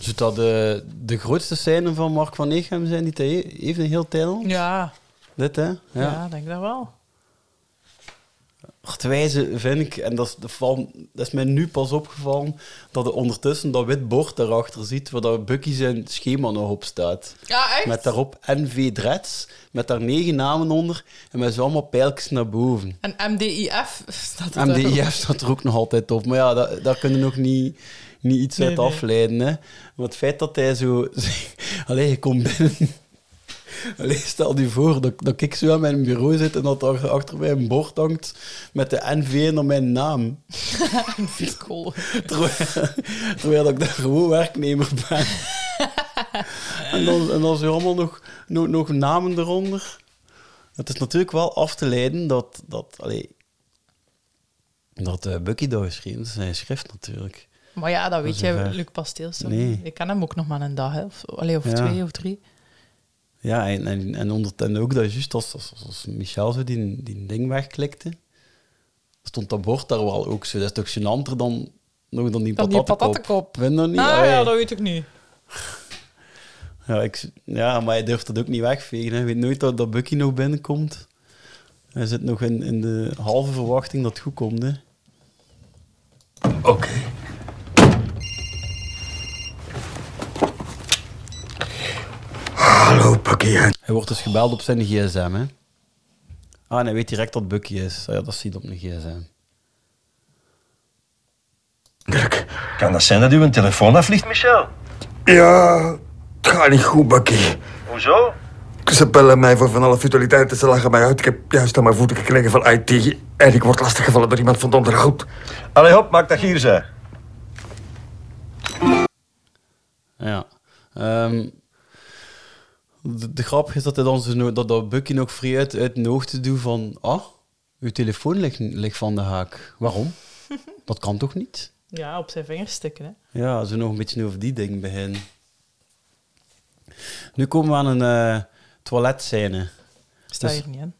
[SPEAKER 1] Zou dat de, de grootste scène van Mark van Neeghem zijn die hij he- heeft in heel Thailand?
[SPEAKER 5] Ja.
[SPEAKER 1] Dit, hè? Ja.
[SPEAKER 5] Ja, denk dat wel.
[SPEAKER 1] Het wijze vind ik, en dat is, de val- dat is mij nu pas opgevallen, dat er ondertussen dat wit bord daarachter ziet, waar dat Bucky zijn schema nog op staat.
[SPEAKER 5] Ja, echt?
[SPEAKER 1] Met daarop NV Dreads, met daar negen namen onder, en met zo allemaal pijltjes naar boven.
[SPEAKER 5] En MDIF staat er daar
[SPEAKER 1] MDIF
[SPEAKER 5] ook.
[SPEAKER 1] staat er ook nog altijd op. Maar ja, dat- daar kunnen we ook niet, niet iets
[SPEAKER 5] Nee,
[SPEAKER 1] uit
[SPEAKER 5] nee.
[SPEAKER 1] afleiden. Hè. Want het feit dat hij zo... Allee, je komt binnen... Allee, stel je voor dat, dat ik zo aan mijn bureau zit en dat er achter mij een bord hangt met de NV en dan mijn naam.
[SPEAKER 5] Cool.
[SPEAKER 1] Terwijl, terwijl ik daar gewoon werknemer ben. en, dan, en dan zijn er allemaal nog, nog, nog namen eronder. Het is natuurlijk wel af te leiden dat... dat allee, dat eh, Bucky dat geschreven is, zijn schrift natuurlijk.
[SPEAKER 5] Maar ja, dat weet
[SPEAKER 1] is
[SPEAKER 5] jij,
[SPEAKER 1] een ver-
[SPEAKER 5] Luc Pasteels. toch?
[SPEAKER 1] Nee.
[SPEAKER 5] Ik ken hem ook nog maar een dag, hè. Of, allee, of
[SPEAKER 1] Ja.
[SPEAKER 5] twee of drie.
[SPEAKER 1] Ja, en, en, en, onder, en ook dat juist als, als, als Michel zo die, die ding wegklikte, stond dat bord daar wel ook zo. Dat is toch gênanter dan, nog dan die
[SPEAKER 5] Dan die
[SPEAKER 1] patatekop.
[SPEAKER 5] patatekop.
[SPEAKER 1] Vind je dat niet?
[SPEAKER 5] Ah
[SPEAKER 1] Allee.
[SPEAKER 5] ja, dat weet ik niet.
[SPEAKER 1] Ja, ik, ja, maar hij durft dat ook niet wegvegen. Hè. Je weet nooit dat, dat Bucky nog binnenkomt. Hij zit nog in, in de halve verwachting dat het goed komt. Hè.
[SPEAKER 10] Oké.
[SPEAKER 1] Hallo, Bucky. Hij wordt dus gebeld op zijn gsm, hè. Ah, en hij weet direct dat Bucky is. Ah ja, dat ziet op een gsm.
[SPEAKER 10] Kan dat zijn dat u een telefoon afvliegt?
[SPEAKER 12] Michel.
[SPEAKER 10] Ja, het gaat niet goed, Bakkie.
[SPEAKER 12] Hoezo?
[SPEAKER 10] Ze bellen mij voor van alle futiliteiten, ze lachen mij uit. Ik heb juist aan mijn voeten gekregen van IT en ik word lastiggevallen door iemand van het onderhoud.
[SPEAKER 12] Allee, hop, maak dat hier zijn.
[SPEAKER 1] Ja. Ehm, de, de grap is dat, hij dan zo, no- dat, dat Bucky nog vrij uit, uit een oog te doen van... Ah, uw telefoon ligt, ligt van de haak. Waarom? Dat kan toch niet?
[SPEAKER 5] Ja, op zijn vingers stikken, hè.
[SPEAKER 1] Ja, zo nog een beetje over die ding beginnen. Nu komen we aan een eh toiletscène.
[SPEAKER 5] Sta
[SPEAKER 1] Dus-
[SPEAKER 5] hier niet in.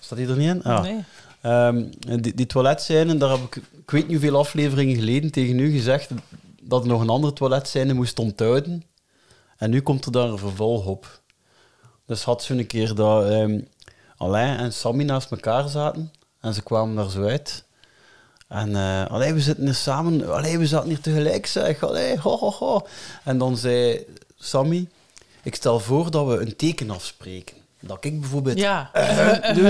[SPEAKER 1] Staat die er niet in? Ah.
[SPEAKER 5] Nee.
[SPEAKER 1] Ehm, die, die toiletscène, daar heb ik, ik weet niet hoeveel afleveringen geleden tegen u gezegd dat er nog een andere toiletscène moest onthouden. En nu komt er daar een vervolg op. Dus had zo'n keer dat ehm, Alain en Sammy naast elkaar zaten en ze kwamen daar zo uit. En eh, allee, we zitten hier samen, allee, we zaten hier tegelijk, zeg, allee, ho, ho, ho. En dan zei Sammy, ik stel voor dat we een teken afspreken. Dat ik bijvoorbeeld...
[SPEAKER 5] Ja.
[SPEAKER 1] eh, doen.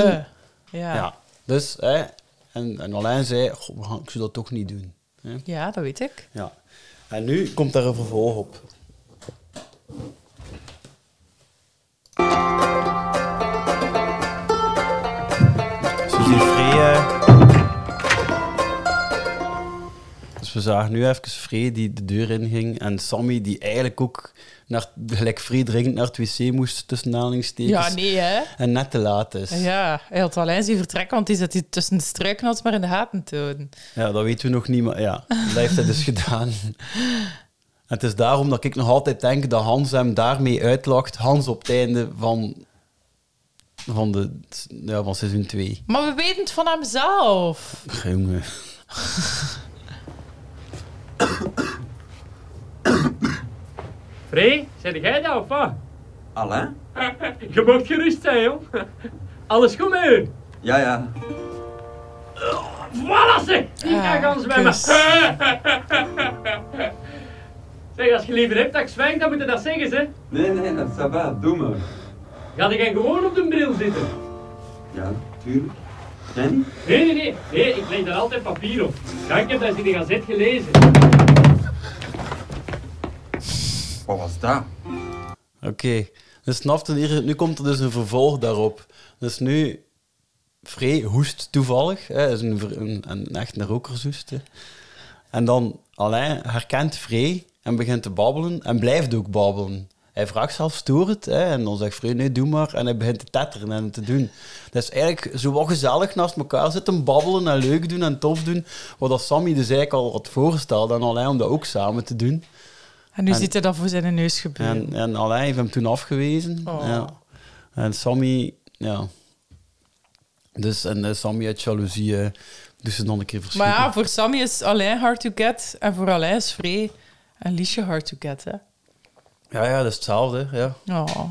[SPEAKER 5] Ja.
[SPEAKER 1] Ja. Dus, hè, en, en Alain zei, "Goh, we gaan- ik zou dat toch niet doen. Hè?
[SPEAKER 5] Ja, dat weet ik.
[SPEAKER 1] Ja. En nu komt daar een vervolg op. Suzie Free. eh. Dus we zagen nu even Free die de deur inging. En Sammy die eigenlijk ook naar, gelijk Free dringend naar het wc moest, tussen aanhalingstekens.
[SPEAKER 5] Ja, nee, hè?
[SPEAKER 1] En net te laat is.
[SPEAKER 5] Ja, hij had alleen zien vertrekken, want die zat hij tussen de struiknots maar in de gaten te houden.
[SPEAKER 1] Ja, dat weten we nog niet, maar ja, dat heeft hij dus gedaan. En het is daarom dat ik nog altijd denk dat Hans hem daarmee uitlacht. Hans op het einde van, van, de, ja, van seizoen 2.
[SPEAKER 5] Maar we weten het van hemzelf.
[SPEAKER 1] Jongen.
[SPEAKER 13] Free, zit jij dat of wat?
[SPEAKER 14] Alain?
[SPEAKER 13] Je mag gerust zijn, joh. Alles goed met u?
[SPEAKER 14] Ja, ja.
[SPEAKER 13] Voilà, zeg! Ik ga gaan
[SPEAKER 5] Ah,
[SPEAKER 13] zwemmen.
[SPEAKER 14] kus.
[SPEAKER 5] dus-
[SPEAKER 13] zeg, als je liever hebt dat ik zwem, dan moet je dat zeggen, hè.
[SPEAKER 14] Nee, nee, dat is va, doe maar.
[SPEAKER 13] Ga ik gewoon op de bril zitten?
[SPEAKER 14] Ja, tuurlijk. Jij niet?
[SPEAKER 13] Nee, nee, nee. Nee, ik leg daar altijd papier op. Ja, ik heb dat eens in de gazet gelezen.
[SPEAKER 14] Wat was dat?
[SPEAKER 1] Oké, dus snapte hier, nu komt er dus een vervolg daarop. Dus nu, Free hoest toevallig, hè, is een, ver- een, een, een echt een rokershoest. hè. En dan Alain herkent Free en begint te babbelen en blijft ook babbelen. Hij vraagt zelf stoer het hè, en dan zegt Free, nee, doe maar. En hij begint te tetteren en te doen. Dat is eigenlijk zo wat gezellig naast elkaar zitten babbelen en leuk doen en tof doen. Wat dat Sammy dus eigenlijk al had voorgesteld aan Alain om dat ook samen te doen.
[SPEAKER 5] En nu
[SPEAKER 1] En-
[SPEAKER 5] ziet hij dat voor zijn neus gebeuren.
[SPEAKER 1] En, en Alain heeft hem toen afgewezen.
[SPEAKER 5] Oh.
[SPEAKER 1] Ja. En Sammy, ja. Dus, en eh, Sammy uit jaloezie eh, doet ze dan een keer verschieten.
[SPEAKER 5] Maar ja, voor Sammy is Alain hard to get en voor Alain is Free. Een liedje Hard to Get, hè?
[SPEAKER 1] Ja, ja, dat is hetzelfde. hè. Ja.
[SPEAKER 5] Oh.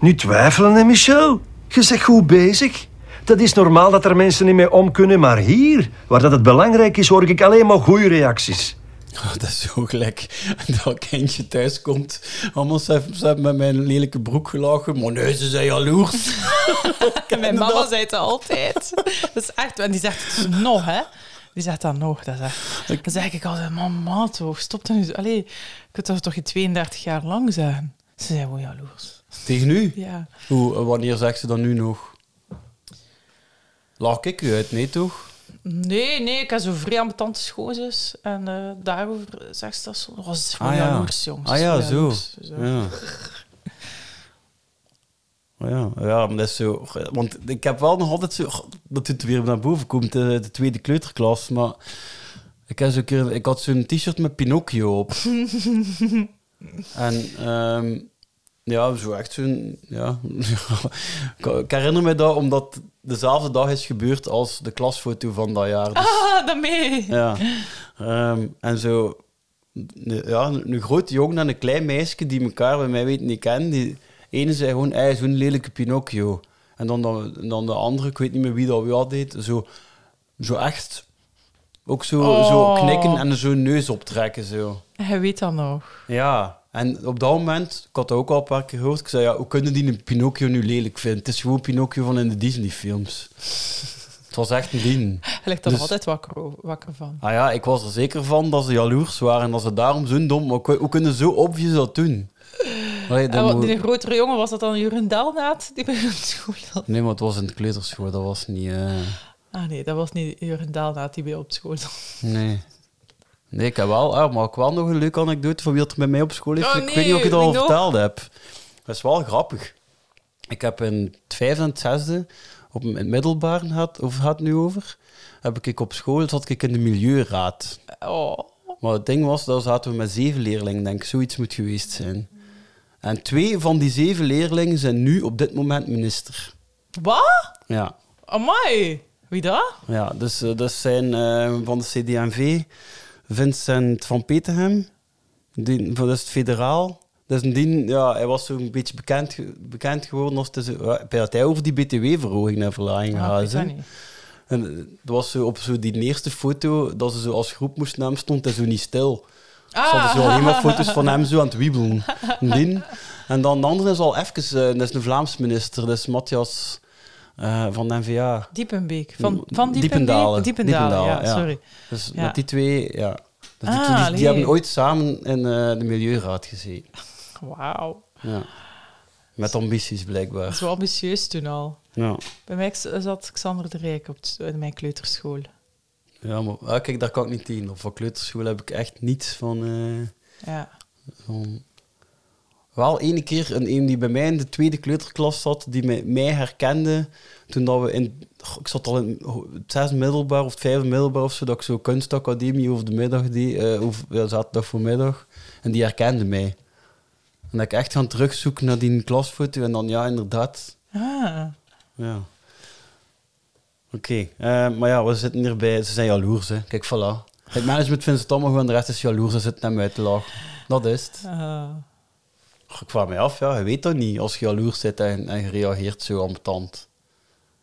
[SPEAKER 15] Nu twijfelen, hè, Michel? Nou, Je zegt goed bezig. Dat is normaal dat er mensen niet mee om kunnen, maar hier, waar dat het belangrijk is, hoor ik alleen maar goede reacties.
[SPEAKER 1] dat is zo gelijk. Dat kindje thuis komt. Allemaal ze hebben- ze hebben met mijn lelijke broek gelachen. Maar nee, ze zijn jaloers.
[SPEAKER 5] Mijn mama zei het altijd. Dat is echt, en die zegt het dus nog, hè? Die zegt dat nog. Dat is echt. Dan zeg ik altijd: Mama, toch, stop dan nu. Allee, je kunt dat toch je 32 jaar lang zijn? Ze zijn wel jaloers.
[SPEAKER 1] Tegen nu?
[SPEAKER 5] Ja.
[SPEAKER 1] Hoe, eh, wanneer zegt ze dat nu nog? Lach ik u uit, nee toch?
[SPEAKER 5] Nee, nee, ik heb zo'n vrij ambetante schoonzus. En eh, daarover zegt ze dat zo. Oh, ze is wel
[SPEAKER 1] Ah, ja.
[SPEAKER 5] jaloers, jongens.
[SPEAKER 1] Ah,
[SPEAKER 5] Ze is
[SPEAKER 1] ja,
[SPEAKER 5] wel
[SPEAKER 1] zo.
[SPEAKER 5] jaloers.
[SPEAKER 1] Ja. Oh Ja, ja, maar dat is zo. Want ik heb wel nog altijd zo. Dat het weer naar boven komt, eh, de, de tweede kleuterklas. Maar ik, heb zo'n keer, ik had zo'n t-shirt met Pinocchio op. En ehm, ja, zo echt zo'n... Ja. ik, ik herinner me dat omdat dezelfde dag is gebeurd als de klasfoto van dat jaar. Dus,
[SPEAKER 5] Ah, daarmee.
[SPEAKER 1] ja. Ehm, en zo... de- Ja, een, een grote jongen en een klein meisje die elkaar bij mij weten niet kennen. Die ene zei gewoon, hij is zo'n lelijke Pinocchio. En dan, dan, dan de andere, ik weet niet meer wie dat wel deed, zo, zo echt... Ook zo, zo
[SPEAKER 5] Oh.
[SPEAKER 1] knikken en zo'n neus optrekken, zo.
[SPEAKER 5] Hij weet dat nog.
[SPEAKER 1] Ja, en op dat moment, ik had dat ook al een paar keer gehoord, ik zei, ja, hoe kunnen die een Pinocchio nu lelijk vinden? Het is gewoon Pinocchio van in de Disney-films. Het was echt een ding.
[SPEAKER 5] Hij ligt er nog altijd wakker, o- wakker van.
[SPEAKER 1] Ah ja, ik was er zeker van dat ze jaloers waren en dat ze daarom zo'n dom... Maar hoe- hoe kunnen ze zo obvious dat doen? Allee, dat
[SPEAKER 5] En wat,
[SPEAKER 1] moet-
[SPEAKER 5] die grotere jongen, was dat dan Jeroen Delnaat? Die bij hem op school zat?
[SPEAKER 1] Nee, maar het was in de kleuterschool, dat was niet... eh,
[SPEAKER 5] Ah nee, dat was niet Jeroen Delnaat die bij op school zat.
[SPEAKER 1] Nee. Nee, ik heb wel, ah, maar ik wel nog een leuke anekdote van wie dat er met mij op school heeft.
[SPEAKER 5] Oh,
[SPEAKER 1] ik
[SPEAKER 5] nee,
[SPEAKER 1] weet niet of ik het al
[SPEAKER 5] wie nog?
[SPEAKER 1] verteld heb. Dat is wel grappig. Ik heb in het vijfde en het zesde, op, in het middelbaar gaat, of gaat het nu over, heb ik op school, zat ik in de milieuraad.
[SPEAKER 5] Oh,
[SPEAKER 1] Maar het ding was, daar zaten we met zeven leerlingen, denk ik. Zoiets moet geweest zijn. En twee van die zeven leerlingen zijn nu op dit moment minister.
[SPEAKER 5] Wat?
[SPEAKER 1] Ja.
[SPEAKER 5] Amai! Wie dat?
[SPEAKER 1] Ja, dus eh, dat zijn eh, van de CD&V Vincent van Peterhem. Die, dat is het federaal. Dat is een dien, ja, hij was zo'n beetje bekend, ge- bekend geworden als het is, ja, dat hij over die BTW-verhoging en verlaging
[SPEAKER 5] Ah,
[SPEAKER 1] gaat.
[SPEAKER 5] ik weet
[SPEAKER 1] hè.
[SPEAKER 5] dat niet.
[SPEAKER 1] En eh, het was zo op zo die eerste foto dat ze zo als groep moesten naar hem stond en zo niet stil.
[SPEAKER 5] Ah.
[SPEAKER 1] Ze hadden zo alleen maar foto's van hem zo aan het wiebelen. Een dien. En dan de andere is al even, eh, dat is een Vlaams minister, dat is Matthias eh, van de NVA.
[SPEAKER 5] Diepenbeek. Van, van Diepenbeek?
[SPEAKER 1] Diependalen.
[SPEAKER 5] Diependalen,
[SPEAKER 1] Diependalen,
[SPEAKER 5] ja, sorry.
[SPEAKER 1] Dus
[SPEAKER 5] Ja.
[SPEAKER 1] met die twee, ja. Dus die,
[SPEAKER 5] Ah,
[SPEAKER 1] twee- die- die,
[SPEAKER 5] allee.
[SPEAKER 1] hebben ooit samen in eh, de Milieuraad gezeten.
[SPEAKER 5] Wauw.
[SPEAKER 1] Ja. Met ambities, blijkbaar.
[SPEAKER 5] Zo ambitieus toen al.
[SPEAKER 1] Ja.
[SPEAKER 5] Bij mij zat Xander de Rijk op het- in mijn kleuterschool.
[SPEAKER 1] Ja, maar ah, kijk, daar kan ik niet in. Op van kleuterschool heb ik echt niets van... eh,
[SPEAKER 5] Ja.
[SPEAKER 1] van- Wel ene keer een, een die bij mij in de tweede kleuterklas zat, die mij, mij herkende toen dat we in... goh, Ik zat al in het zesde middelbaar of het vijfde middelbaar of zo, dat ik zo kunstacademie over de middag deed, eh, of ja, zaterdag voormiddag. En die herkende mij. En dat ik echt gaan terugzoeken naar die klasfoto en dan ja, inderdaad.
[SPEAKER 5] Ah.
[SPEAKER 1] Ja. Oké, eh, maar ja, we zitten hierbij. Ze zijn jaloers, hè. Kijk, voilà. Het management vindt het allemaal goed en de rest is jaloers. Ze zitten hem uit te lachen. Dat is het.
[SPEAKER 5] Ah.
[SPEAKER 1] Och, Ik kwam mij af, ja. Je weet dat niet als je jaloers zit en, en je reageert zo ambetant.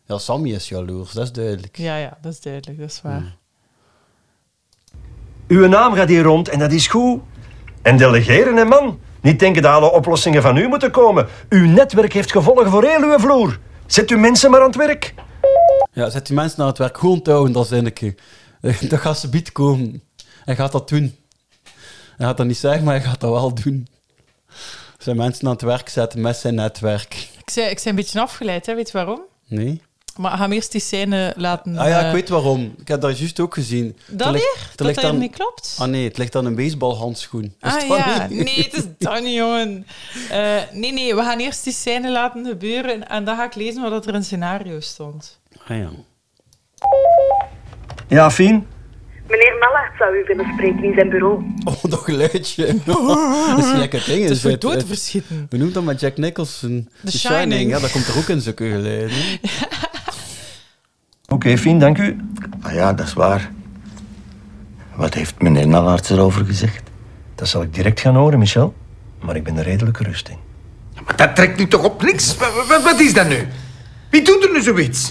[SPEAKER 1] Ja, Sammy is jaloers, dat is duidelijk.
[SPEAKER 5] Ja, ja, dat is duidelijk, dat is waar.
[SPEAKER 15] Uw naam gaat hier rond en dat is goed. En delegeren, hè, man. Niet denken dat alle oplossingen van u moeten komen. Uw netwerk heeft gevolgen voor heel uw vloer. Zet uw mensen maar aan het werk.
[SPEAKER 1] Ja, zet die mensen naar het werk. Gewoon onthouden, dat zinnetje. Dan gaat ze bied komen. Hij gaat dat doen. Hij gaat dat niet zeggen, maar hij gaat dat wel doen. Zijn mensen aan het werk zetten met zijn netwerk.
[SPEAKER 5] Ik zei, ik zei een beetje afgeleid, hè. weet je waarom?
[SPEAKER 1] Nee?
[SPEAKER 5] Maar ga hem eerst die scène laten...
[SPEAKER 1] Ah ja, ik
[SPEAKER 5] eh,
[SPEAKER 1] weet waarom. Ik heb dat juist ook gezien.
[SPEAKER 5] Dat
[SPEAKER 1] Er ligt-
[SPEAKER 5] weer?
[SPEAKER 1] er
[SPEAKER 5] Dat
[SPEAKER 1] ligt
[SPEAKER 5] dat
[SPEAKER 1] aan-
[SPEAKER 5] niet klopt?
[SPEAKER 1] Ah nee, het ligt aan een baseballhandschoen. Is
[SPEAKER 5] Ah
[SPEAKER 1] dat
[SPEAKER 5] ja,
[SPEAKER 1] niet?
[SPEAKER 5] nee, het is dat niet, jongen. Eh, nee, nee, we gaan eerst die scène laten gebeuren en dan ga ik lezen wat er in het scenario stond.
[SPEAKER 1] Ah ja.
[SPEAKER 15] Ja, Fien?
[SPEAKER 11] Meneer Mellaert zou u willen spreken in zijn bureau.
[SPEAKER 1] Oh, dat geluidje. dat is een lekker ding.
[SPEAKER 5] Het is voor
[SPEAKER 1] uit-
[SPEAKER 5] dood
[SPEAKER 1] uit-
[SPEAKER 5] verschieten.
[SPEAKER 1] We noemen dat met Jack Nicholson.
[SPEAKER 5] Shining.
[SPEAKER 1] Ja, dat komt er ook in zulke geluiden.
[SPEAKER 15] Oké, fijn, dank u.
[SPEAKER 16] Ah ja, dat is waar. Wat heeft meneer Nallaerts erover gezegd?
[SPEAKER 15] Dat zal ik direct gaan horen, Michel. Maar ik ben er redelijk gerust in.
[SPEAKER 7] Maar dat trekt nu toch op niks? Wa- wa- Wat, is dat nu? Wie doet er nu zoiets?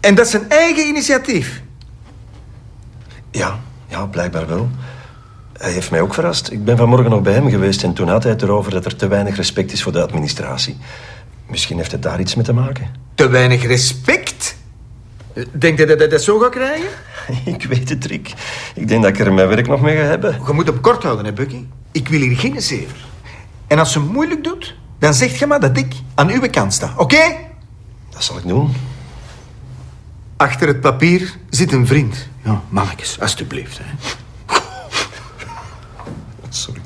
[SPEAKER 7] En dat is zijn eigen initiatief.
[SPEAKER 15] Ja, ja, blijkbaar wel. Hij heeft mij ook verrast. Ik ben vanmorgen nog bij hem geweest en toen had hij het erover dat er te weinig respect is voor de administratie. Misschien heeft het daar iets mee te maken.
[SPEAKER 7] Te weinig respect? Denk je dat hij dat zo gaat krijgen?
[SPEAKER 15] Ik weet het, Rick. Ik denk dat ik er mijn werk nog mee ga hebben.
[SPEAKER 7] Je moet hem kort houden, hè, Bucky. Ik wil hier geen zever. En als ze moeilijk doet, dan zegt je maar dat ik aan uw kant sta, oké?
[SPEAKER 15] Dat zal ik doen.
[SPEAKER 7] Achter het papier zit een vriend. Ja, mannetjes, alstublieft. Hè.
[SPEAKER 15] Sorry.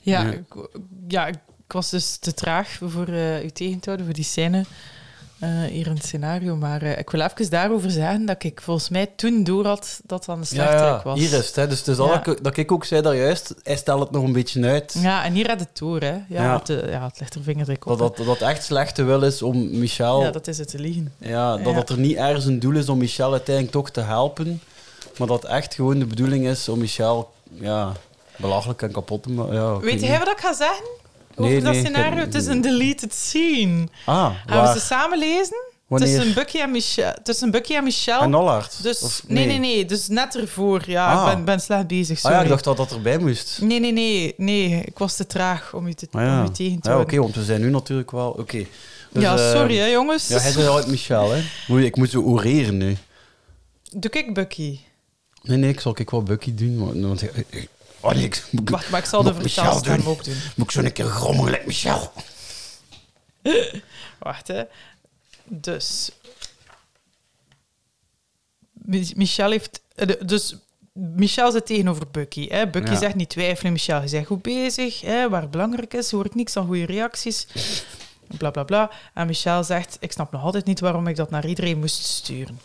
[SPEAKER 5] Ja,
[SPEAKER 15] Ja.
[SPEAKER 5] Ik, ja, ik was dus te traag voor eh, u tegen te houden, voor die scène eh, hier in het scenario. Maar eh, ik wil even daarover zeggen dat ik volgens mij toen door had dat dat een
[SPEAKER 1] Ja,
[SPEAKER 5] slechtrek
[SPEAKER 1] ja,
[SPEAKER 5] was.
[SPEAKER 1] hier is het. hè. Dus het is
[SPEAKER 5] Ja.
[SPEAKER 1] al dat ik- dat ik ook zei daar juist, hij stelt het nog een beetje uit.
[SPEAKER 5] Ja, en hier had het door, hè. Ja,
[SPEAKER 1] Ja.
[SPEAKER 5] Het, eh, ja, het ligt er vingerdruk op.
[SPEAKER 1] Dat, dat, dat echt slechte wil is om Michel...
[SPEAKER 5] Ja, dat is het te liegen.
[SPEAKER 1] Ja, dat
[SPEAKER 5] Ja.
[SPEAKER 1] het er niet ergens een doel is om Michel uiteindelijk toch te helpen. Maar dat echt gewoon de bedoeling is om Michel ja, belachelijk en kapot te maken. Ja, ik
[SPEAKER 5] Weet
[SPEAKER 1] niet.
[SPEAKER 5] jij wat ik ga zeggen over
[SPEAKER 1] Nee,
[SPEAKER 5] dat
[SPEAKER 1] nee,
[SPEAKER 5] scenario?
[SPEAKER 1] ik-
[SPEAKER 5] Het is een deleted scene.
[SPEAKER 1] Ah,
[SPEAKER 5] Gaan
[SPEAKER 1] waar?
[SPEAKER 5] we ze samen lezen?
[SPEAKER 1] Wanneer?
[SPEAKER 5] Tussen Bucky en Michel. Tussen Bucky en Michel.
[SPEAKER 1] En Nollard?
[SPEAKER 5] Dus,
[SPEAKER 1] Of
[SPEAKER 5] nee? nee,
[SPEAKER 1] nee?
[SPEAKER 5] nee, Dus net ervoor. Ja,
[SPEAKER 1] Ah.
[SPEAKER 5] ik ben, ben slecht bezig.
[SPEAKER 1] Ah
[SPEAKER 5] Sorry.
[SPEAKER 1] ja, ik dacht dat dat erbij moest.
[SPEAKER 5] Nee, nee, nee, nee. Ik was te traag om u, te,
[SPEAKER 1] Maar Ah ja,
[SPEAKER 5] om u tegen te
[SPEAKER 1] ja oké,
[SPEAKER 5] houden.
[SPEAKER 1] want we zijn nu natuurlijk wel... Oké.
[SPEAKER 5] Ja,
[SPEAKER 1] eh,
[SPEAKER 5] sorry, hè, jongens.
[SPEAKER 1] Ja, hij is altijd Michel, hè. Moet- Ik moet zo oreren nu.
[SPEAKER 5] Doe ik Bucky.
[SPEAKER 1] Nee, nee, ik zal ik wel Bucky doen. Want, want, eh, eh, oh nee, ik, moet ik-
[SPEAKER 5] Wacht, maar ik zal de
[SPEAKER 1] moet ik Michel
[SPEAKER 5] vertaalstem
[SPEAKER 1] doen?
[SPEAKER 5] ook doen.
[SPEAKER 1] Moet ik zo een keer grommelen, like Michel?
[SPEAKER 5] Wacht, hè. Dus. Mi- Michel heeft... eh, de- Dus Michel zit tegenover Bucky. Hè. Bucky
[SPEAKER 17] Ja.
[SPEAKER 5] zegt niet twijfelen. Michel, je bent goed bezig. Hè. Waar het belangrijk is, hoor ik niks aan goede reacties. Bla, bla, bla. En Michel zegt, ik snap nog altijd niet waarom ik dat naar iedereen moest sturen.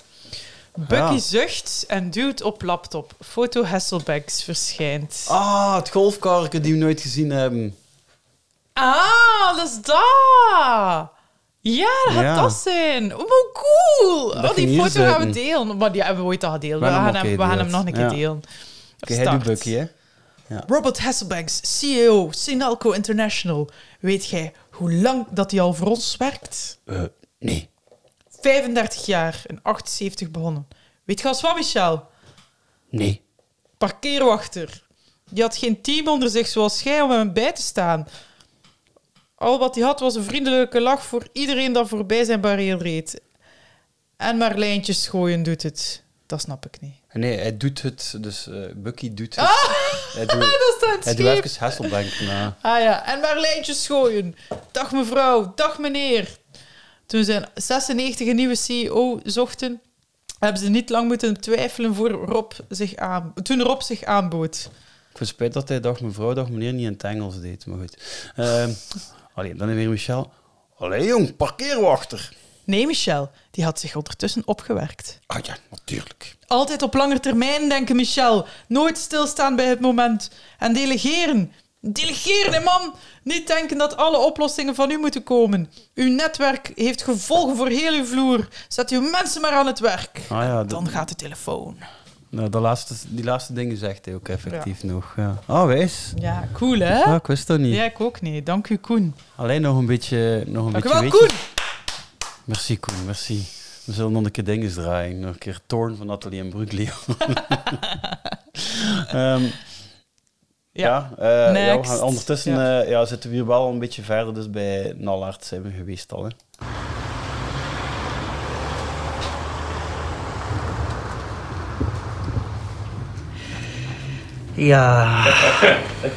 [SPEAKER 5] Bucky
[SPEAKER 1] Ja.
[SPEAKER 5] zucht en duwt op laptop. Foto Hasselbanks verschijnt.
[SPEAKER 1] Ah, het golfkarken die we nooit gezien hebben.
[SPEAKER 5] Ah, dat is dat! Ja, dat gaat
[SPEAKER 1] Ja.
[SPEAKER 5] dat zijn. Oh, hoe cool!
[SPEAKER 1] Dat
[SPEAKER 5] Oh,
[SPEAKER 1] ging
[SPEAKER 5] die
[SPEAKER 1] hier
[SPEAKER 5] foto gaan we
[SPEAKER 1] zitten.
[SPEAKER 5] delen. Maar die hebben we ooit al gedeeld. We,
[SPEAKER 1] We hebben
[SPEAKER 5] gaan,
[SPEAKER 1] hem
[SPEAKER 5] hem,
[SPEAKER 1] ook
[SPEAKER 5] we gaan hem
[SPEAKER 1] gedeeld,
[SPEAKER 5] nog een keer
[SPEAKER 1] ja.
[SPEAKER 5] delen.
[SPEAKER 1] Oké, hij doet
[SPEAKER 5] Start.
[SPEAKER 1] Bucky, hè. Ja.
[SPEAKER 5] Robert Hasselbanks, CEO, Sinalco International. Weet jij hoe lang dat hij al voor ons werkt?
[SPEAKER 1] Eh, nee.
[SPEAKER 5] 35 jaar, in 78 begonnen. Weet je als wat, Michel?
[SPEAKER 1] Nee.
[SPEAKER 5] Parkeerwachter. Die had geen team onder zich zoals jij om hem bij te staan. Al wat hij had was een vriendelijke lach voor iedereen dat voorbij zijn barrière reed. En maar lijntjes gooien doet het. Dat snap ik niet.
[SPEAKER 1] Nee, hij doet het. Dus eh, Bucky doet het. hij
[SPEAKER 5] Ah! dat is dan
[SPEAKER 1] Hij doet
[SPEAKER 5] scheef.
[SPEAKER 1] even Hasselbank na.
[SPEAKER 5] Ah ja, en maar lijntjes gooien. Dag mevrouw, dag meneer. Toen ze 96 een nieuwe CEO zochten, hebben ze niet lang moeten twijfelen voor Rob zich aan, toen Rob zich aanbood.
[SPEAKER 1] Ik vind het spijt dat hij dag mevrouw, dag meneer niet in het Engels deed. Maar goed. Ehm allee, dan weer Michel. Allee jong, parkeerwachter.
[SPEAKER 5] Nee, Michel, die had zich ondertussen opgewerkt.
[SPEAKER 1] Ah ja, natuurlijk.
[SPEAKER 5] Altijd op lange termijn denken, Michel. Nooit stilstaan bij het moment. En delegeren. Delegeren, hè, man. Niet denken dat alle oplossingen van u moeten komen. Uw netwerk heeft gevolgen voor heel uw vloer. Zet uw mensen maar aan het werk.
[SPEAKER 1] Ah ja, dat-
[SPEAKER 5] Dan gaat de telefoon.
[SPEAKER 1] Nou, dat laatste, die laatste dingen zegt hij ook effectief nog. Ja. Ah, wijs.
[SPEAKER 5] Ja, cool, hè?
[SPEAKER 1] Ah, ik wist dat niet.
[SPEAKER 5] Ja, ik ook niet. Dank u, Koen.
[SPEAKER 1] Alleen nog een beetje... Nog een
[SPEAKER 5] Dank
[SPEAKER 1] beetje
[SPEAKER 5] u wel,
[SPEAKER 1] weetjes.
[SPEAKER 5] Koen.
[SPEAKER 1] Merci, Koen, merci. We zullen nog een keer dinges draaien. Nog een keer Thorn van Atelier en Brugge Leeuw. Ehm, ja, eh, ja, we
[SPEAKER 5] next.
[SPEAKER 1] gaan- ondertussen
[SPEAKER 5] Ja.
[SPEAKER 1] eh, ja, zitten we hier wel een beetje verder. Dus bij Nallard zijn we geweest al. Hè.
[SPEAKER 18] Ja.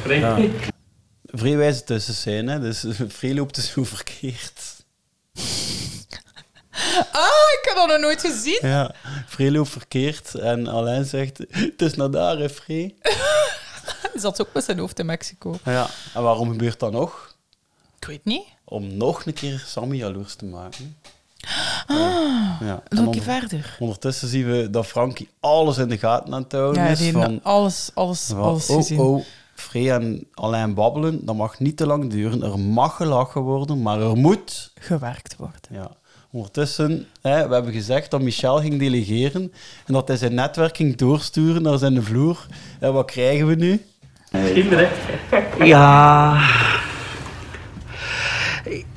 [SPEAKER 1] Ja. Vrij wijze tussen zijn, hè? dus Vrij loopt dus zo verkeerd.
[SPEAKER 5] Ah, ik heb dat nog nooit gezien.
[SPEAKER 1] Ja, Vrij loopt verkeerd en Alain zegt: Het is naar daar, hè, Vrij.
[SPEAKER 5] Hij zat ook met zijn hoofd in Mexico.
[SPEAKER 1] Ja, en waarom gebeurt dat nog?
[SPEAKER 5] Ik weet niet.
[SPEAKER 1] Om nog een keer Sammy jaloers te maken.
[SPEAKER 5] Ah,
[SPEAKER 1] Ja. en
[SPEAKER 5] doe ik je
[SPEAKER 1] onder-
[SPEAKER 5] verder.
[SPEAKER 1] Ondertussen zien we dat Frankie alles in de gaten aan het houden
[SPEAKER 5] Ja,
[SPEAKER 1] is.
[SPEAKER 5] die
[SPEAKER 1] van,
[SPEAKER 5] alles, alles,
[SPEAKER 1] van,
[SPEAKER 5] alles
[SPEAKER 1] oh,
[SPEAKER 5] gezien.
[SPEAKER 1] Oh, Free en alleen babbelen, dat mag niet te lang duren. Er mag gelachen worden, maar er moet...
[SPEAKER 5] Gewerkt worden.
[SPEAKER 1] Ja. Ondertussen, hè, we hebben gezegd dat Michel ging delegeren en dat hij zijn netwerk ging doorsturen naar zijn vloer. En wat krijgen we nu?
[SPEAKER 13] Kinderen.
[SPEAKER 4] Ja.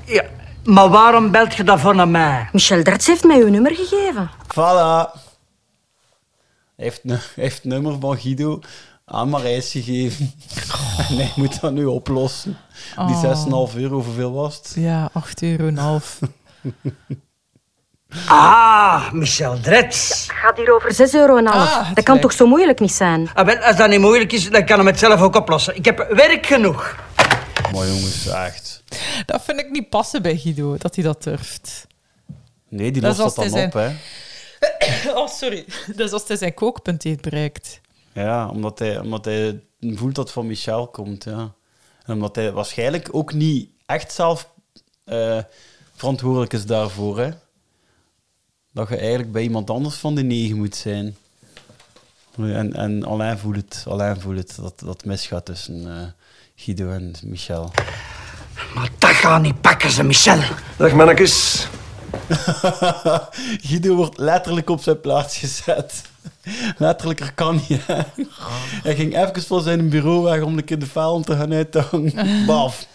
[SPEAKER 4] ja. Maar waarom belt je dat van naar mij?
[SPEAKER 17] Michel Derts heeft mij uw nummer gegeven.
[SPEAKER 1] Voilà. Hij heeft, nu- hij heeft het nummer van Guido aan Marijs gegeven. En hij moet dat nu oplossen. Die
[SPEAKER 5] Oh.
[SPEAKER 1] 6,5 euro, hoeveel was het?
[SPEAKER 5] Ja, 8 euro en half.
[SPEAKER 17] Oh,
[SPEAKER 4] Ah, Michel Drets.
[SPEAKER 17] Het gaat hier over 6 euro en
[SPEAKER 5] Ah,
[SPEAKER 17] half. dat kan toch zo moeilijk niet zijn?
[SPEAKER 4] Ah, wel, als dat niet moeilijk is, dan kan hem het zelf ook oplossen. Ik heb werk genoeg.
[SPEAKER 1] Maar jongens, echt.
[SPEAKER 5] Dat vind ik niet passen bij Guido, dat hij dat durft.
[SPEAKER 1] Nee, die
[SPEAKER 5] Dat
[SPEAKER 1] lost dat,
[SPEAKER 5] was
[SPEAKER 1] dan
[SPEAKER 5] te
[SPEAKER 1] op, hè.
[SPEAKER 5] Oh, sorry. Dat is als hij zijn kookpunt heeft bereikt.
[SPEAKER 1] Ja, omdat hij, omdat hij voelt dat het van Michel komt, ja. En omdat hij waarschijnlijk ook niet echt zelf eh, verantwoordelijk is daarvoor, hè. Dat je eigenlijk bij iemand anders van de negen moet zijn. En, en Alain voelt het, Alain voelt het dat dat misgaat tussen eh, Guido en Michel.
[SPEAKER 4] Dat gaan niet pakken ze, Michel.
[SPEAKER 15] Dag mannetjes.
[SPEAKER 1] Guido wordt letterlijk op zijn plaats gezet. Letterlijker kan je. Hij ging even voor zijn bureau weg om een keer de faal te gaan uithangen. Baf.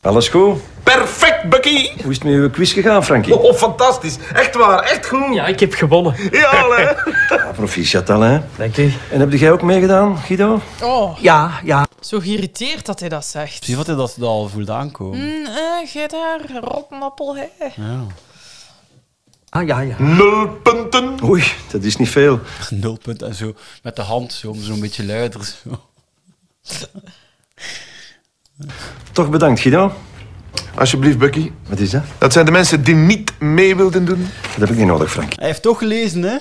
[SPEAKER 15] Alles goed?
[SPEAKER 8] Perfect, Bucky!
[SPEAKER 15] Hoe is het met uw quiz gegaan, Frankie?
[SPEAKER 8] Oh, fantastisch. Echt waar, echt goed. Ja, ik heb gewonnen. Ja, hè.
[SPEAKER 15] Ja, proficiat Alain. Dank u. En heb jij ook meegedaan, Guido?
[SPEAKER 5] Oh.
[SPEAKER 4] Ja, ja.
[SPEAKER 5] Zo geïrriteerd dat hij dat zegt.
[SPEAKER 1] Zie wat hij dat dat al voelt aankomen.
[SPEAKER 5] Mm, eh, jij daar, rotnappel, hè.
[SPEAKER 1] Ja.
[SPEAKER 4] Ah, ja, ja.
[SPEAKER 15] Nul punten. Oei, dat is niet veel.
[SPEAKER 1] Nul punten en zo. Met de hand zo, zo'n beetje luider. Zo.
[SPEAKER 15] Toch bedankt, Guido.
[SPEAKER 8] Alsjeblieft, Bucky.
[SPEAKER 15] Wat is dat?
[SPEAKER 8] Dat zijn de mensen die niet mee wilden doen.
[SPEAKER 15] Dat heb ik niet nodig, Frankie.
[SPEAKER 1] Hij heeft toch gelezen, hè?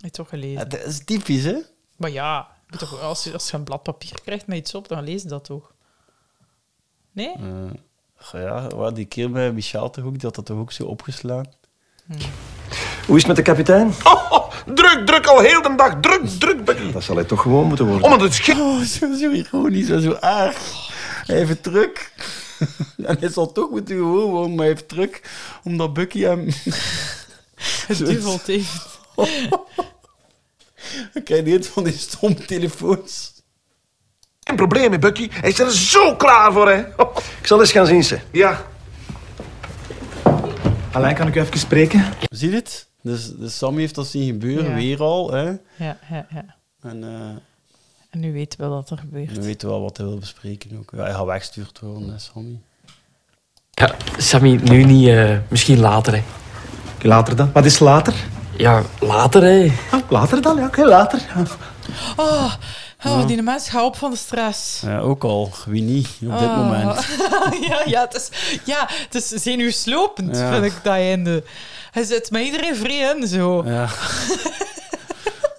[SPEAKER 5] Heb toch gelezen.
[SPEAKER 1] Dat is typisch, hè?
[SPEAKER 5] Maar ja, je moet toch, als, je, als je een blad papier krijgt met iets op, dan lees je dat toch? Nee?
[SPEAKER 1] Eh, ja, wat die keer bij Michel toch ook, die had dat toch ook zo opgeslaan?
[SPEAKER 15] Hoe is het met de kapitein?
[SPEAKER 8] Ah. Druk, druk, al heel de dag. Druk, druk, Bucky.
[SPEAKER 15] Dat zal hij toch gewoon moeten worden.
[SPEAKER 8] Oh, maar dat is gek.
[SPEAKER 1] Oh, zo, zo ironisch en zo aardig. Hij heeft het druk. En hij zal toch moeten gewoon wonen, maar hij heeft het druk. Omdat Bucky hem...
[SPEAKER 5] Het
[SPEAKER 1] Zo-
[SPEAKER 5] duvelt heeft.
[SPEAKER 1] Dan krijg je een van die stomme telefoons.
[SPEAKER 8] Geen probleem, hè, Bucky. Hij is er zo klaar voor, hè.
[SPEAKER 15] Ik zal eens gaan zien, ze.
[SPEAKER 8] Ja.
[SPEAKER 18] Alleen kan ik u even spreken?
[SPEAKER 1] Zie je het? Dus, dus Sammy heeft dat zien gebeuren,
[SPEAKER 5] Ja.
[SPEAKER 1] weer al. Hè?
[SPEAKER 5] Ja, ja, ja.
[SPEAKER 1] En eh,
[SPEAKER 5] En nu weten we wat er gebeurt.
[SPEAKER 1] we weten wel wat hij wil bespreken ook. Ja, hij gaat weggestuurd worden, hè, Sammy.
[SPEAKER 18] Ja, Sammy, nu niet. eh, misschien later, hè. Later dan? Wat is later? Ja, later, hè. later dan, ja. Oké, later.
[SPEAKER 5] Oh,
[SPEAKER 1] Ja.
[SPEAKER 5] oh die mens, ga op van de stress.
[SPEAKER 1] Ja, ook al, wie niet, op dit
[SPEAKER 5] Oh.
[SPEAKER 1] moment.
[SPEAKER 5] ja, ja, het is, ja, het is zenuwslopend,
[SPEAKER 1] Ja.
[SPEAKER 5] vind ik, dat einde. Hij zit met iedereen vrij in, zo.
[SPEAKER 1] Ja.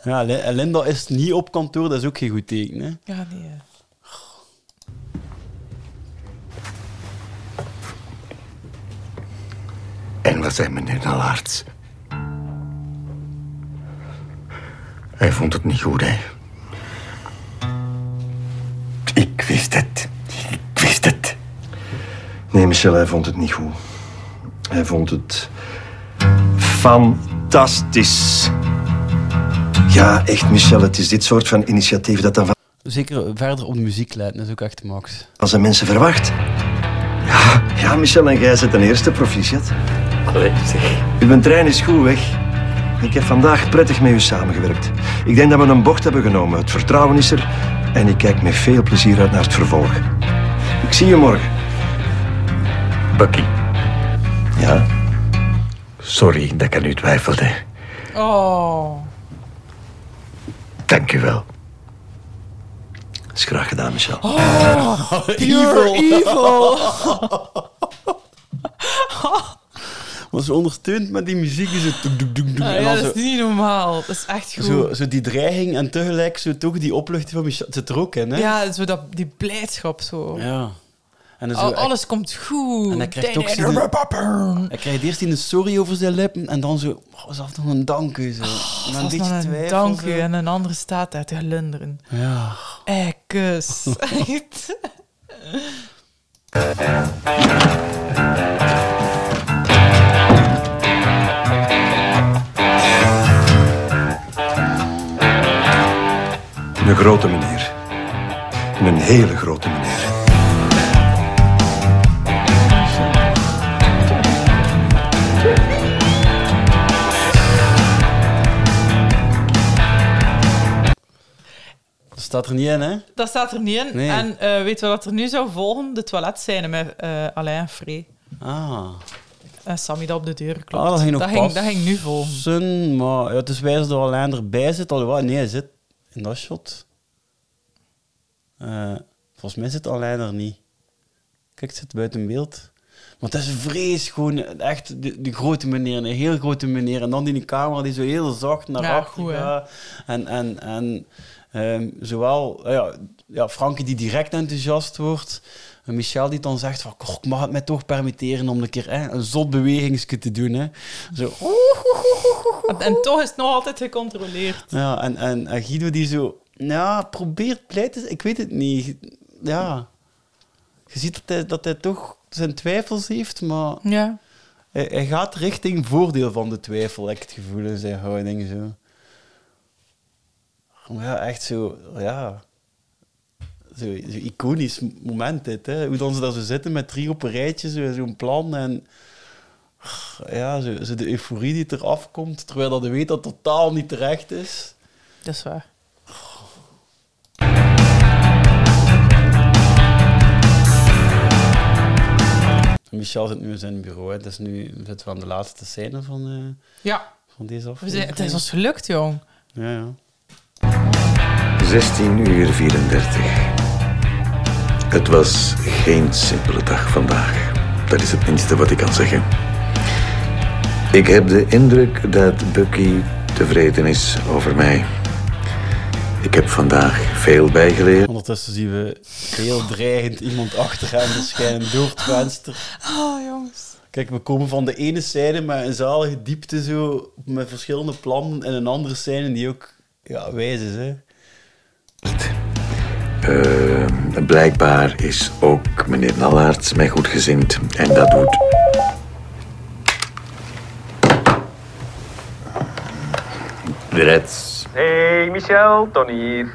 [SPEAKER 1] ja, Lin- en Linda is niet op kantoor, dat is ook geen goed teken. Hè?
[SPEAKER 5] Ja, nee. hè.
[SPEAKER 10] En wat zei meneer Nalaerts? Hij vond het niet goed, hè?
[SPEAKER 15] Ik wist het. Ik wist het. Nee, Michel, hij vond het niet goed. Hij vond het fantastisch. Ja, echt, Michel, het is dit soort van initiatief dat dan van
[SPEAKER 1] Zeker verder op de muziek leiden, dat is ook echt max.
[SPEAKER 15] van zijn mensen verwacht. Ja, ja, Michel en jij zit een eerste proficiat. Allee, zeg. Mijn trein is goed weg. Ik heb vandaag prettig met u samengewerkt. Ik denk dat we een bocht hebben genomen. Het vertrouwen is er en ik kijk met veel plezier uit naar het vervolg. Ik zie je morgen.
[SPEAKER 10] Bucky.
[SPEAKER 15] Ja?
[SPEAKER 10] Sorry dat ik aan u twijfelde.
[SPEAKER 5] Oh.
[SPEAKER 10] Dank u wel.
[SPEAKER 15] Dat is graag gedaan, Michel.
[SPEAKER 5] Oh, pure evil.
[SPEAKER 1] Maar ze ondersteunt met die muziek. Is het doek, doek, doek, doek.
[SPEAKER 5] Ah,
[SPEAKER 1] en dan
[SPEAKER 5] ja, dat
[SPEAKER 1] zo,
[SPEAKER 5] is niet normaal. Dat is echt goed.
[SPEAKER 1] zo, zo die dreiging en tegelijk zo toch die opluchting van Michel. Het zit er ook in, hè?
[SPEAKER 5] Ja, zo dat, die blijdschap zo.
[SPEAKER 1] Ja. En dan zo
[SPEAKER 5] Al-
[SPEAKER 1] echt-
[SPEAKER 5] Oh, alles komt goed.
[SPEAKER 1] En hij krijgt ook
[SPEAKER 5] Ding, ding,
[SPEAKER 1] zijn... Hij krijgt eerst een sorry over zijn lippen en dan zo... Oh, zelf nog een dank u, zo. En
[SPEAKER 5] Oh, Dat
[SPEAKER 1] dan
[SPEAKER 5] was maar een
[SPEAKER 1] twijfel,
[SPEAKER 5] dank
[SPEAKER 1] zo.
[SPEAKER 5] u en een andere staat daar te glunderen.
[SPEAKER 1] Ja.
[SPEAKER 5] Eh, kus. Echt.
[SPEAKER 15] een grote meneer. En een hele grote meneer.
[SPEAKER 1] Dat staat er niet in, hè?
[SPEAKER 5] Dat staat er niet in.
[SPEAKER 1] Nee.
[SPEAKER 5] En eh weet je wat er nu zou volgen? De toiletscène met eh Alain en Free.
[SPEAKER 1] Ah.
[SPEAKER 5] En Eh, Sammy dat op de deur klopt.
[SPEAKER 1] Ah, dat ging nog
[SPEAKER 5] ging, dat ging nu volgen.
[SPEAKER 1] volgen. Maar ja, het is wijs dat Alain erbij zit. Alhoewel, nee, hij zit in dat shot. Eh, volgens mij zit Alain er niet. Kijk, het zit buiten beeld. Want dat is vrees gewoon. Echt de, de grote meneer, een heel grote meneer. En dan die camera die zo heel zacht naar
[SPEAKER 5] Ja,
[SPEAKER 1] achter
[SPEAKER 5] goed, hè.
[SPEAKER 1] gaat. En, en, en ehm, zowel eh, ja, ja, Frankie die direct enthousiast wordt. En Michel die dan zegt van, "Goh, ik mag het mij toch permitteren om een keer hè, een zot bewegingske te doen. Hè. Zo,
[SPEAKER 5] En toch is het nog altijd gecontroleerd.
[SPEAKER 1] ja, en, en, en Guido die zo, ja, probeer pleit eens, ik weet het niet. Ja, je ziet dat hij, dat hij toch zijn twijfels heeft, maar
[SPEAKER 5] Ja.
[SPEAKER 1] hij, hij gaat richting voordeel van de twijfel, heb ik het gevoel in zijn houding. Zo. Maar ja, echt zo, ja. Zo, zo iconisch moment dit, hè. Hoe dan ze daar zo zitten met drie op een rijtje, zo- zo'n plan en... Ja, zo, zo de euforie die het eraf komt, terwijl dat je weet dat het totaal niet terecht is.
[SPEAKER 5] Dat is waar.
[SPEAKER 1] Michel zit nu in zijn bureau. Hè. Het is nu zit we aan de laatste scène van, eh,
[SPEAKER 5] Ja.
[SPEAKER 1] van deze
[SPEAKER 5] We
[SPEAKER 1] aflevering.
[SPEAKER 5] zijn, het is ons gelukt, jong.
[SPEAKER 1] Ja, ja.
[SPEAKER 19] 16 uur 34. Het was geen simpele dag vandaag. Dat is het minste wat ik kan zeggen. Ik heb de indruk dat Bucky tevreden is over mij. Ik heb vandaag veel bijgeleerd.
[SPEAKER 1] Ondertussen zien we heel dreigend iemand achter hem verschijnen door het venster.
[SPEAKER 5] Oh, jongens.
[SPEAKER 1] Kijk, we komen van de ene scène met een zalige diepte zo, met verschillende plannen, en een andere scène die ook ja, wijs is. Hè.
[SPEAKER 19] Eh, blijkbaar is ook meneer Nallaerts mij goed gezind. En dat doet... De Reds.
[SPEAKER 20] Hey Michel, Tony hier.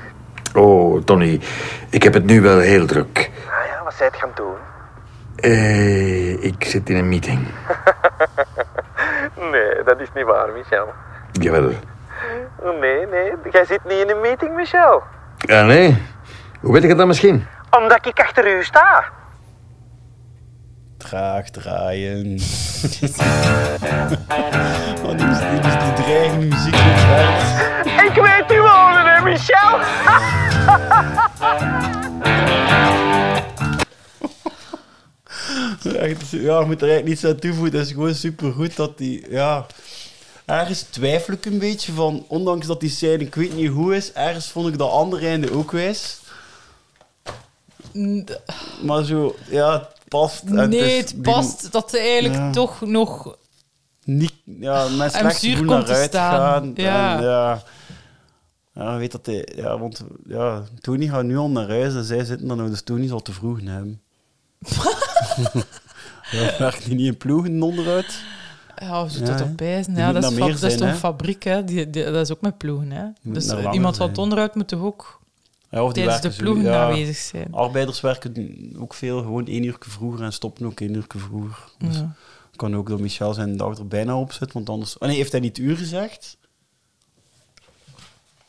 [SPEAKER 19] Oh, Tony, ik heb het nu wel heel druk.
[SPEAKER 20] Ah ja, wat zei het gaan doen?
[SPEAKER 19] Eh, ik zit in een meeting.
[SPEAKER 20] nee, dat is niet waar, Michel.
[SPEAKER 19] Jawel.
[SPEAKER 20] Nee, nee, jij zit niet in een meeting, Michel.
[SPEAKER 19] Ah, nee? Hoe weet ik het dan misschien?
[SPEAKER 20] Omdat ik achter u sta.
[SPEAKER 1] Traag draaien. oh, die, mus- die, mus- die dreigende muziek in het veld.
[SPEAKER 20] Ik weet u wonen, hè, Michel?
[SPEAKER 1] Echt, ja, je moet er eigenlijk niets aan toevoegen. Het is gewoon supergoed dat die... Ja, ergens twijfel ik een beetje van... Ondanks dat die scène ik weet niet hoe is, ergens vond ik dat andere einde ook wijs.
[SPEAKER 5] N- d-
[SPEAKER 1] Maar zo, ja, het past. En
[SPEAKER 5] Nee,
[SPEAKER 1] is
[SPEAKER 5] het past dat ze eigenlijk
[SPEAKER 1] Ja.
[SPEAKER 5] toch nog...
[SPEAKER 1] Niet, ja, mijn
[SPEAKER 5] Hem
[SPEAKER 1] slecht
[SPEAKER 5] zuur
[SPEAKER 1] gevoel
[SPEAKER 5] Ah, komt
[SPEAKER 1] naar
[SPEAKER 5] te staan.
[SPEAKER 1] uitgaan.
[SPEAKER 5] Ja.
[SPEAKER 1] En, ja. Ja, je weet dat hij... Ja, want ja, Tony gaat nu al naar huis en zij zitten dan nog, dus Tony zal te vroeg naar hem. ja, werkt hij niet in ploegen onderuit?
[SPEAKER 5] Ja, ze
[SPEAKER 1] Ja,
[SPEAKER 5] doet dat
[SPEAKER 1] hè.
[SPEAKER 5] op bijzen.
[SPEAKER 1] Die
[SPEAKER 5] Ja,
[SPEAKER 1] moet
[SPEAKER 5] dat is,
[SPEAKER 1] naar
[SPEAKER 5] fa-
[SPEAKER 1] meer
[SPEAKER 5] dat is
[SPEAKER 1] zijn,
[SPEAKER 5] toch
[SPEAKER 1] hè.
[SPEAKER 5] een fabriek, hè. Die, die- dat is ook met ploegen, hè.
[SPEAKER 1] moet
[SPEAKER 5] Dus
[SPEAKER 1] naar
[SPEAKER 5] eh,
[SPEAKER 1] langer
[SPEAKER 5] iemand
[SPEAKER 1] zijn.
[SPEAKER 5] wat onderuit moet toch ook
[SPEAKER 1] Ja, of die
[SPEAKER 5] tijdens de
[SPEAKER 1] werken
[SPEAKER 5] ploegen
[SPEAKER 1] zo, dus- ja.
[SPEAKER 5] aanwezig zijn.
[SPEAKER 1] Arbeiders werken ook veel, gewoon één uur vroeger en stoppen ook één uur vroeger. Dus
[SPEAKER 5] Ja.
[SPEAKER 1] kan ook dat Michel zijn dag er bijna op zit, want anders... Oh nee, heeft hij niet uur gezegd?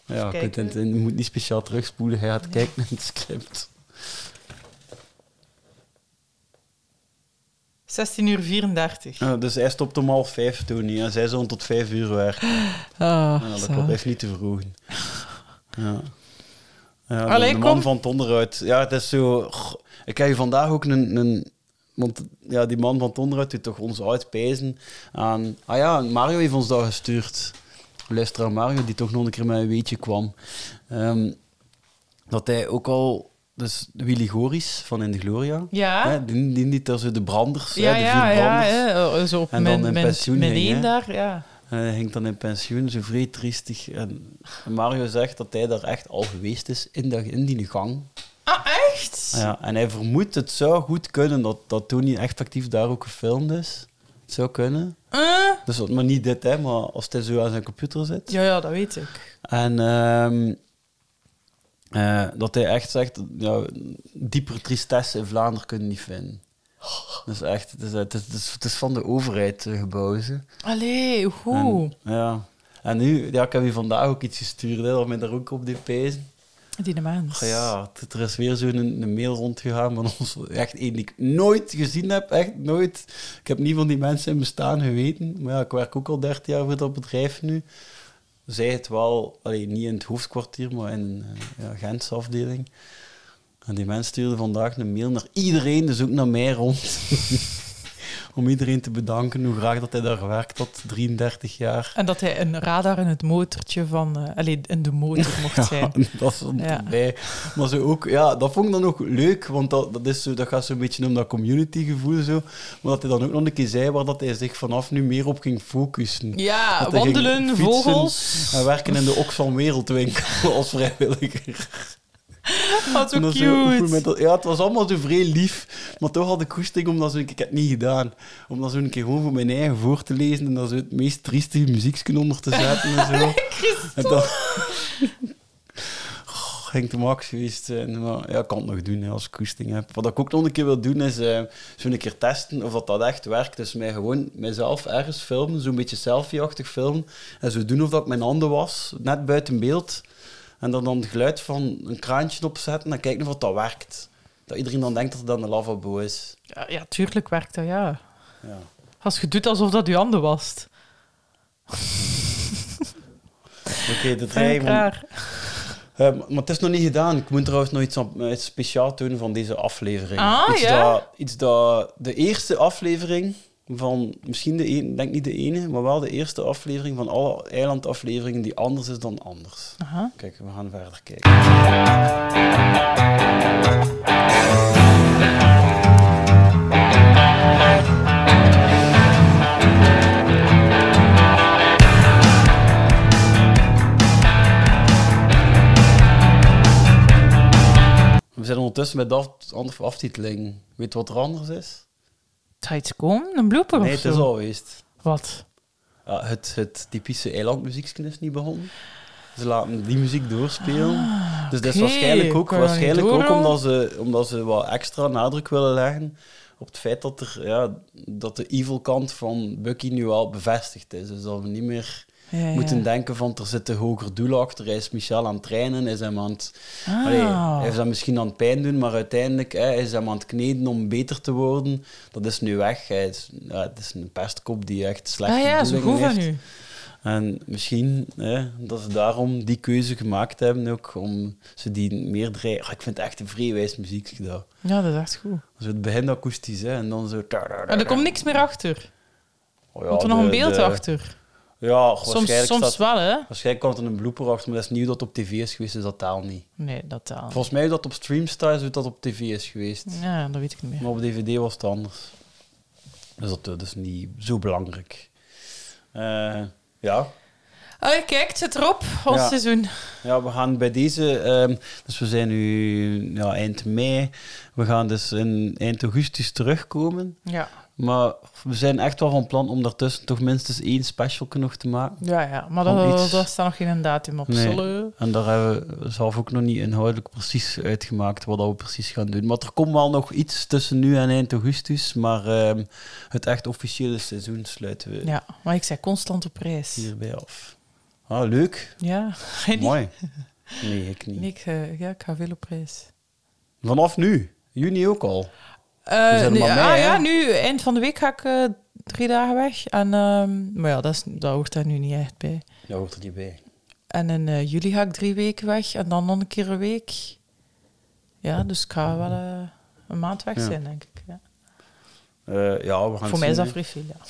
[SPEAKER 1] Ja, je, kunt
[SPEAKER 5] kijken.
[SPEAKER 1] het- je moet niet speciaal terugspoelen, hij gaat kijken naar het script.
[SPEAKER 5] 16 uur 34.
[SPEAKER 1] Ja, dus hij stopt om half vijf, Tony, en zij zo'n tot vijf uur werken. ja, dat klopt,
[SPEAKER 5] zalig.
[SPEAKER 1] hij heeft niet te verroegen. Ja. Ja, de-
[SPEAKER 5] Allee,
[SPEAKER 1] de man
[SPEAKER 5] kom.
[SPEAKER 1] van het onderuit. Ja, het is zo... goh, Ik heb je vandaag ook een... een want ja, die man van het onderuit doet toch ons uitpijzen aan... Ah ja, Mario heeft ons daar gestuurd. Luisteraar Mario, die toch nog een keer met een weetje kwam. Ehm, dat hij ook al... Dus Willy Goris van In de Gloria.
[SPEAKER 5] Ja.
[SPEAKER 1] Hè, die, die, die tussen de branders, hè,
[SPEAKER 5] Ja,
[SPEAKER 1] de
[SPEAKER 5] ja,
[SPEAKER 1] vier
[SPEAKER 5] ja.
[SPEAKER 1] branders.
[SPEAKER 5] hè. Eh, Zo op
[SPEAKER 1] En
[SPEAKER 5] mijn,
[SPEAKER 1] dan in
[SPEAKER 5] mijn,
[SPEAKER 1] pensioen
[SPEAKER 5] mijn
[SPEAKER 1] ging,
[SPEAKER 5] één
[SPEAKER 1] hè.
[SPEAKER 5] daar, ja.
[SPEAKER 1] En hij ging dan in pensioen, zo vrij triestig. En Mario zegt dat hij daar echt al geweest is in, dat, in die gang.
[SPEAKER 5] Ah, echt?
[SPEAKER 1] Ja, en hij vermoedt, het zou goed kunnen dat, dat Tony echt actief daar ook gefilmd is. Het zou kunnen.
[SPEAKER 5] Ah.
[SPEAKER 1] Dus dat, maar niet dit, hè, maar als hij zo aan zijn computer zit.
[SPEAKER 5] Ja, ja, dat weet ik.
[SPEAKER 1] En ehm, Eh, dat hij echt zegt, ja, dieper tristesse in Vlaanderen kunnen we niet vinden. Dat is echt, het is, het is- het is, het is van de overheid eh, gebouwen. ze.
[SPEAKER 5] Allee, hoe?
[SPEAKER 1] En, ja. En nu, ja, ik heb u vandaag ook iets gestuurd, hè, dat mij daar ook op deed pezen.
[SPEAKER 5] Die de mens.
[SPEAKER 1] Ah Ja, t- er is weer zo'n een mail rondgegaan van ons. Echt één die ik nooit gezien heb. Echt nooit. Ik heb niet van die mensen in bestaan geweten. Maar ja, ik werk ook al 13 jaar voor dat bedrijf nu. Zij het wel, allee, niet in het hoofdkwartier, maar in een eh, ja, Gentse afdeling. En die mensen stuurden vandaag een mail naar iedereen, dus ook naar mij rond. Om iedereen te bedanken hoe graag dat hij daar werkt, dat 33 jaar.
[SPEAKER 5] En dat hij een radar in het motortje van... eh allee, in de motor mocht zijn.
[SPEAKER 1] Ja, dat stond
[SPEAKER 5] Ja.
[SPEAKER 1] erbij. Maar zo ook, ja, dat vond ik dan ook leuk, want dat, dat, is zo, dat gaat zo'n beetje om dat communitygevoel zo. Maar dat hij dan ook nog een keer zei waar dat hij zich vanaf nu meer op ging focussen.
[SPEAKER 5] Ja,
[SPEAKER 1] Dat hij ging
[SPEAKER 5] wandelen,
[SPEAKER 1] fietsen
[SPEAKER 5] vogels.
[SPEAKER 1] En werken in de Oxfam Wereldwinkel als vrijwilliger.
[SPEAKER 5] Wat
[SPEAKER 1] En
[SPEAKER 5] zo
[SPEAKER 1] dat is ook
[SPEAKER 5] cute.
[SPEAKER 1] goed met dat- Ja, het was allemaal zo vrij lief. Maar toch had ik goesting om dat zo een keer... Ik heb het niet gedaan. Om dat zo een keer gewoon voor mijn eigen voor te lezen en dat zo het meest trieste muziekje onder te zetten en zo. en dan... Oh, ging te max geweest zijn. Maar ja, ik kan het nog doen hè, als ik goesting heb. Wat ik ook nog een keer wil doen, is eh, zo een keer testen of dat, dat echt werkt. Dus mij gewoon mijzelf ergens filmen, zo'n beetje selfie-achtig filmen. En zo doen of dat ik mijn handen was, net buiten beeld. En dan dan het geluid van een kraantje opzetten en kijken of dat werkt. Dat iedereen dan denkt dat het dan een lavabo is.
[SPEAKER 5] Ja, ja, tuurlijk werkt dat, ja.
[SPEAKER 1] Ja.
[SPEAKER 5] Als je doet alsof dat je handen wast.
[SPEAKER 1] Oké, dat
[SPEAKER 5] Vind ik
[SPEAKER 1] rijm.
[SPEAKER 5] raar.
[SPEAKER 1] Eh, maar het is nog niet gedaan. Ik moet trouwens nog iets, aan- eh, iets speciaals doen van deze aflevering.
[SPEAKER 5] Ah,
[SPEAKER 1] iets,
[SPEAKER 5] ja?
[SPEAKER 1] dat, iets dat de eerste aflevering van, misschien de ene, denk niet de ene, maar wel de eerste aflevering van alle eilandafleveringen die anders is dan anders.
[SPEAKER 5] Aha.
[SPEAKER 1] Kijk, we gaan verder kijken. We zijn ondertussen met de af- andere aftiteling. Weet je wat er anders is?
[SPEAKER 5] Het gaat iets komen, een blooper
[SPEAKER 1] nee,
[SPEAKER 5] of
[SPEAKER 1] het
[SPEAKER 5] zo.
[SPEAKER 1] is al geweest.
[SPEAKER 5] Wat?
[SPEAKER 1] Ja, het, het typische eilandmuziekje is niet begonnen. Ze laten die muziek doorspelen. dus dat is
[SPEAKER 5] Ah, oké.
[SPEAKER 1] waarschijnlijk ook,
[SPEAKER 5] Kan je dat
[SPEAKER 1] waarschijnlijk
[SPEAKER 5] niet
[SPEAKER 1] ook
[SPEAKER 5] doorhouden?
[SPEAKER 1] omdat, ze, omdat ze wat extra nadruk willen leggen op het feit dat, er, ja, dat de evil kant van Bucky nu al bevestigd is. Dus dat we niet meer
[SPEAKER 5] Ja, ja.
[SPEAKER 1] moeten denken van er zitten hoger doelen achter. Hij is Michel aan het trainen, hij is hem aan het...
[SPEAKER 5] Ah.
[SPEAKER 1] Allee, hij is hem misschien aan het pijn doen, maar uiteindelijk hè, hij is hem aan het kneden om beter te worden. Dat is nu weg. Hij is, ja, het is een pestkop die echt slechte
[SPEAKER 5] Ah ja, zo
[SPEAKER 1] bedoelingen
[SPEAKER 5] goed van
[SPEAKER 1] heeft.
[SPEAKER 5] u.
[SPEAKER 1] En misschien hè, dat ze daarom die keuze gemaakt hebben, ook om ze die meer draaien. Ah, ik vind het echt een vrij wijs muziek gedaan.
[SPEAKER 5] Ja, dat is echt goed.
[SPEAKER 1] Zo het begin akoestisch, hè, en dan zo...
[SPEAKER 5] En er komt niks meer achter.
[SPEAKER 1] Oh ja,
[SPEAKER 5] komt er nog
[SPEAKER 1] de-
[SPEAKER 5] een beeld
[SPEAKER 1] de-
[SPEAKER 5] achter?
[SPEAKER 1] Ja, waarschijnlijk
[SPEAKER 5] Soms, soms
[SPEAKER 1] staat-
[SPEAKER 5] wel, hè?
[SPEAKER 1] Waarschijnlijk komt er een blooper achter, maar dat is nieuw dat het op tv is geweest, dus dat taal niet.
[SPEAKER 5] Nee, dat taal.
[SPEAKER 1] Volgens mij hoe dat op Streamstars, hoe dat op tv is geweest.
[SPEAKER 5] Ah. Ja, dat weet ik niet meer.
[SPEAKER 1] Maar op dvd was het anders. Dus dat eh, dat is niet zo belangrijk. Eh, ja,
[SPEAKER 5] Allee, kijk, Oh, het zit erop, ons
[SPEAKER 1] Ja.
[SPEAKER 5] seizoen.
[SPEAKER 1] Ja, we gaan bij deze, ehm, dus we zijn nu ja, eind mei, we gaan dus in eind augustus terugkomen.
[SPEAKER 5] Ja.
[SPEAKER 1] Maar we zijn echt wel van plan om daartussen toch minstens één special nog te maken.
[SPEAKER 5] Ja, ja, maar
[SPEAKER 1] Van
[SPEAKER 5] daar
[SPEAKER 1] iets.
[SPEAKER 5] daar staat nog geen datum op.
[SPEAKER 1] Nee.
[SPEAKER 5] Zullen-
[SPEAKER 1] En daar hebben we zelf ook nog niet inhoudelijk precies uitgemaakt wat dat we precies gaan doen. Maar er komt wel nog iets tussen nu en eind augustus, maar ehm, het echt officiële seizoen sluiten we
[SPEAKER 5] Ja, maar ik zei constant op reis.
[SPEAKER 1] hierbij af. Ah, leuk.
[SPEAKER 5] Ja, jij niet?
[SPEAKER 1] Mooi. Nee, ik niet.
[SPEAKER 5] Nee, ik, eh, ja, ik ga veel op reis.
[SPEAKER 1] Vanaf nu, juni ook al.
[SPEAKER 5] Eh,
[SPEAKER 1] We zijn er
[SPEAKER 5] nee,
[SPEAKER 1] maar
[SPEAKER 5] ah
[SPEAKER 1] mee, hè?
[SPEAKER 5] ja, nu eind van de week ga ik eh, drie dagen weg. En, ehm, maar ja, dat, is, dat hoort daar nu niet echt bij.
[SPEAKER 1] Dat hoort er niet bij.
[SPEAKER 5] En in eh, juli ga ik drie weken weg en dan nog een keer een week. Ja, dus ik ga wel eh, een maand weg
[SPEAKER 1] Ja.
[SPEAKER 5] zijn, denk ik. Ja.
[SPEAKER 1] Eh, ja, we gaan
[SPEAKER 5] Voor mij is
[SPEAKER 1] zien,
[SPEAKER 5] dat
[SPEAKER 1] hè.
[SPEAKER 5] vrij veel, ja.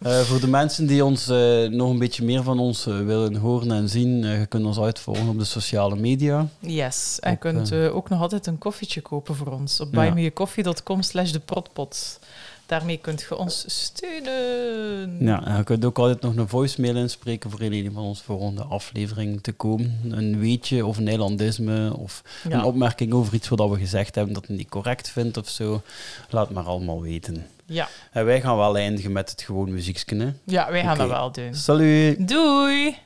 [SPEAKER 1] Eh, voor de mensen die ons eh, nog een beetje meer van ons eh, willen horen en zien, eh je kunt ons uitvolgen op de sociale media.
[SPEAKER 5] Yes, en je
[SPEAKER 1] Op,
[SPEAKER 5] kunt
[SPEAKER 1] eh,
[SPEAKER 5] eh, ook nog altijd een koffietje kopen voor ons op
[SPEAKER 1] Ja.
[SPEAKER 5] buymeacoffee.com slash de protpot. Daarmee kunt je ons steunen.
[SPEAKER 1] Ja, en je kunt ook altijd nog een voicemail inspreken voor in een van onze volgende aflevering te komen. Een weetje of een eilandisme of
[SPEAKER 5] Ja.
[SPEAKER 1] een opmerking over iets wat we gezegd hebben dat je niet correct vindt of zo. Laat maar allemaal weten.
[SPEAKER 5] Ja.
[SPEAKER 1] En wij gaan wel eindigen met het gewoon muziekje. hè.
[SPEAKER 5] Ja, wij gaan
[SPEAKER 1] Oké.
[SPEAKER 5] dat wel doen.
[SPEAKER 1] Salut!
[SPEAKER 5] Doei!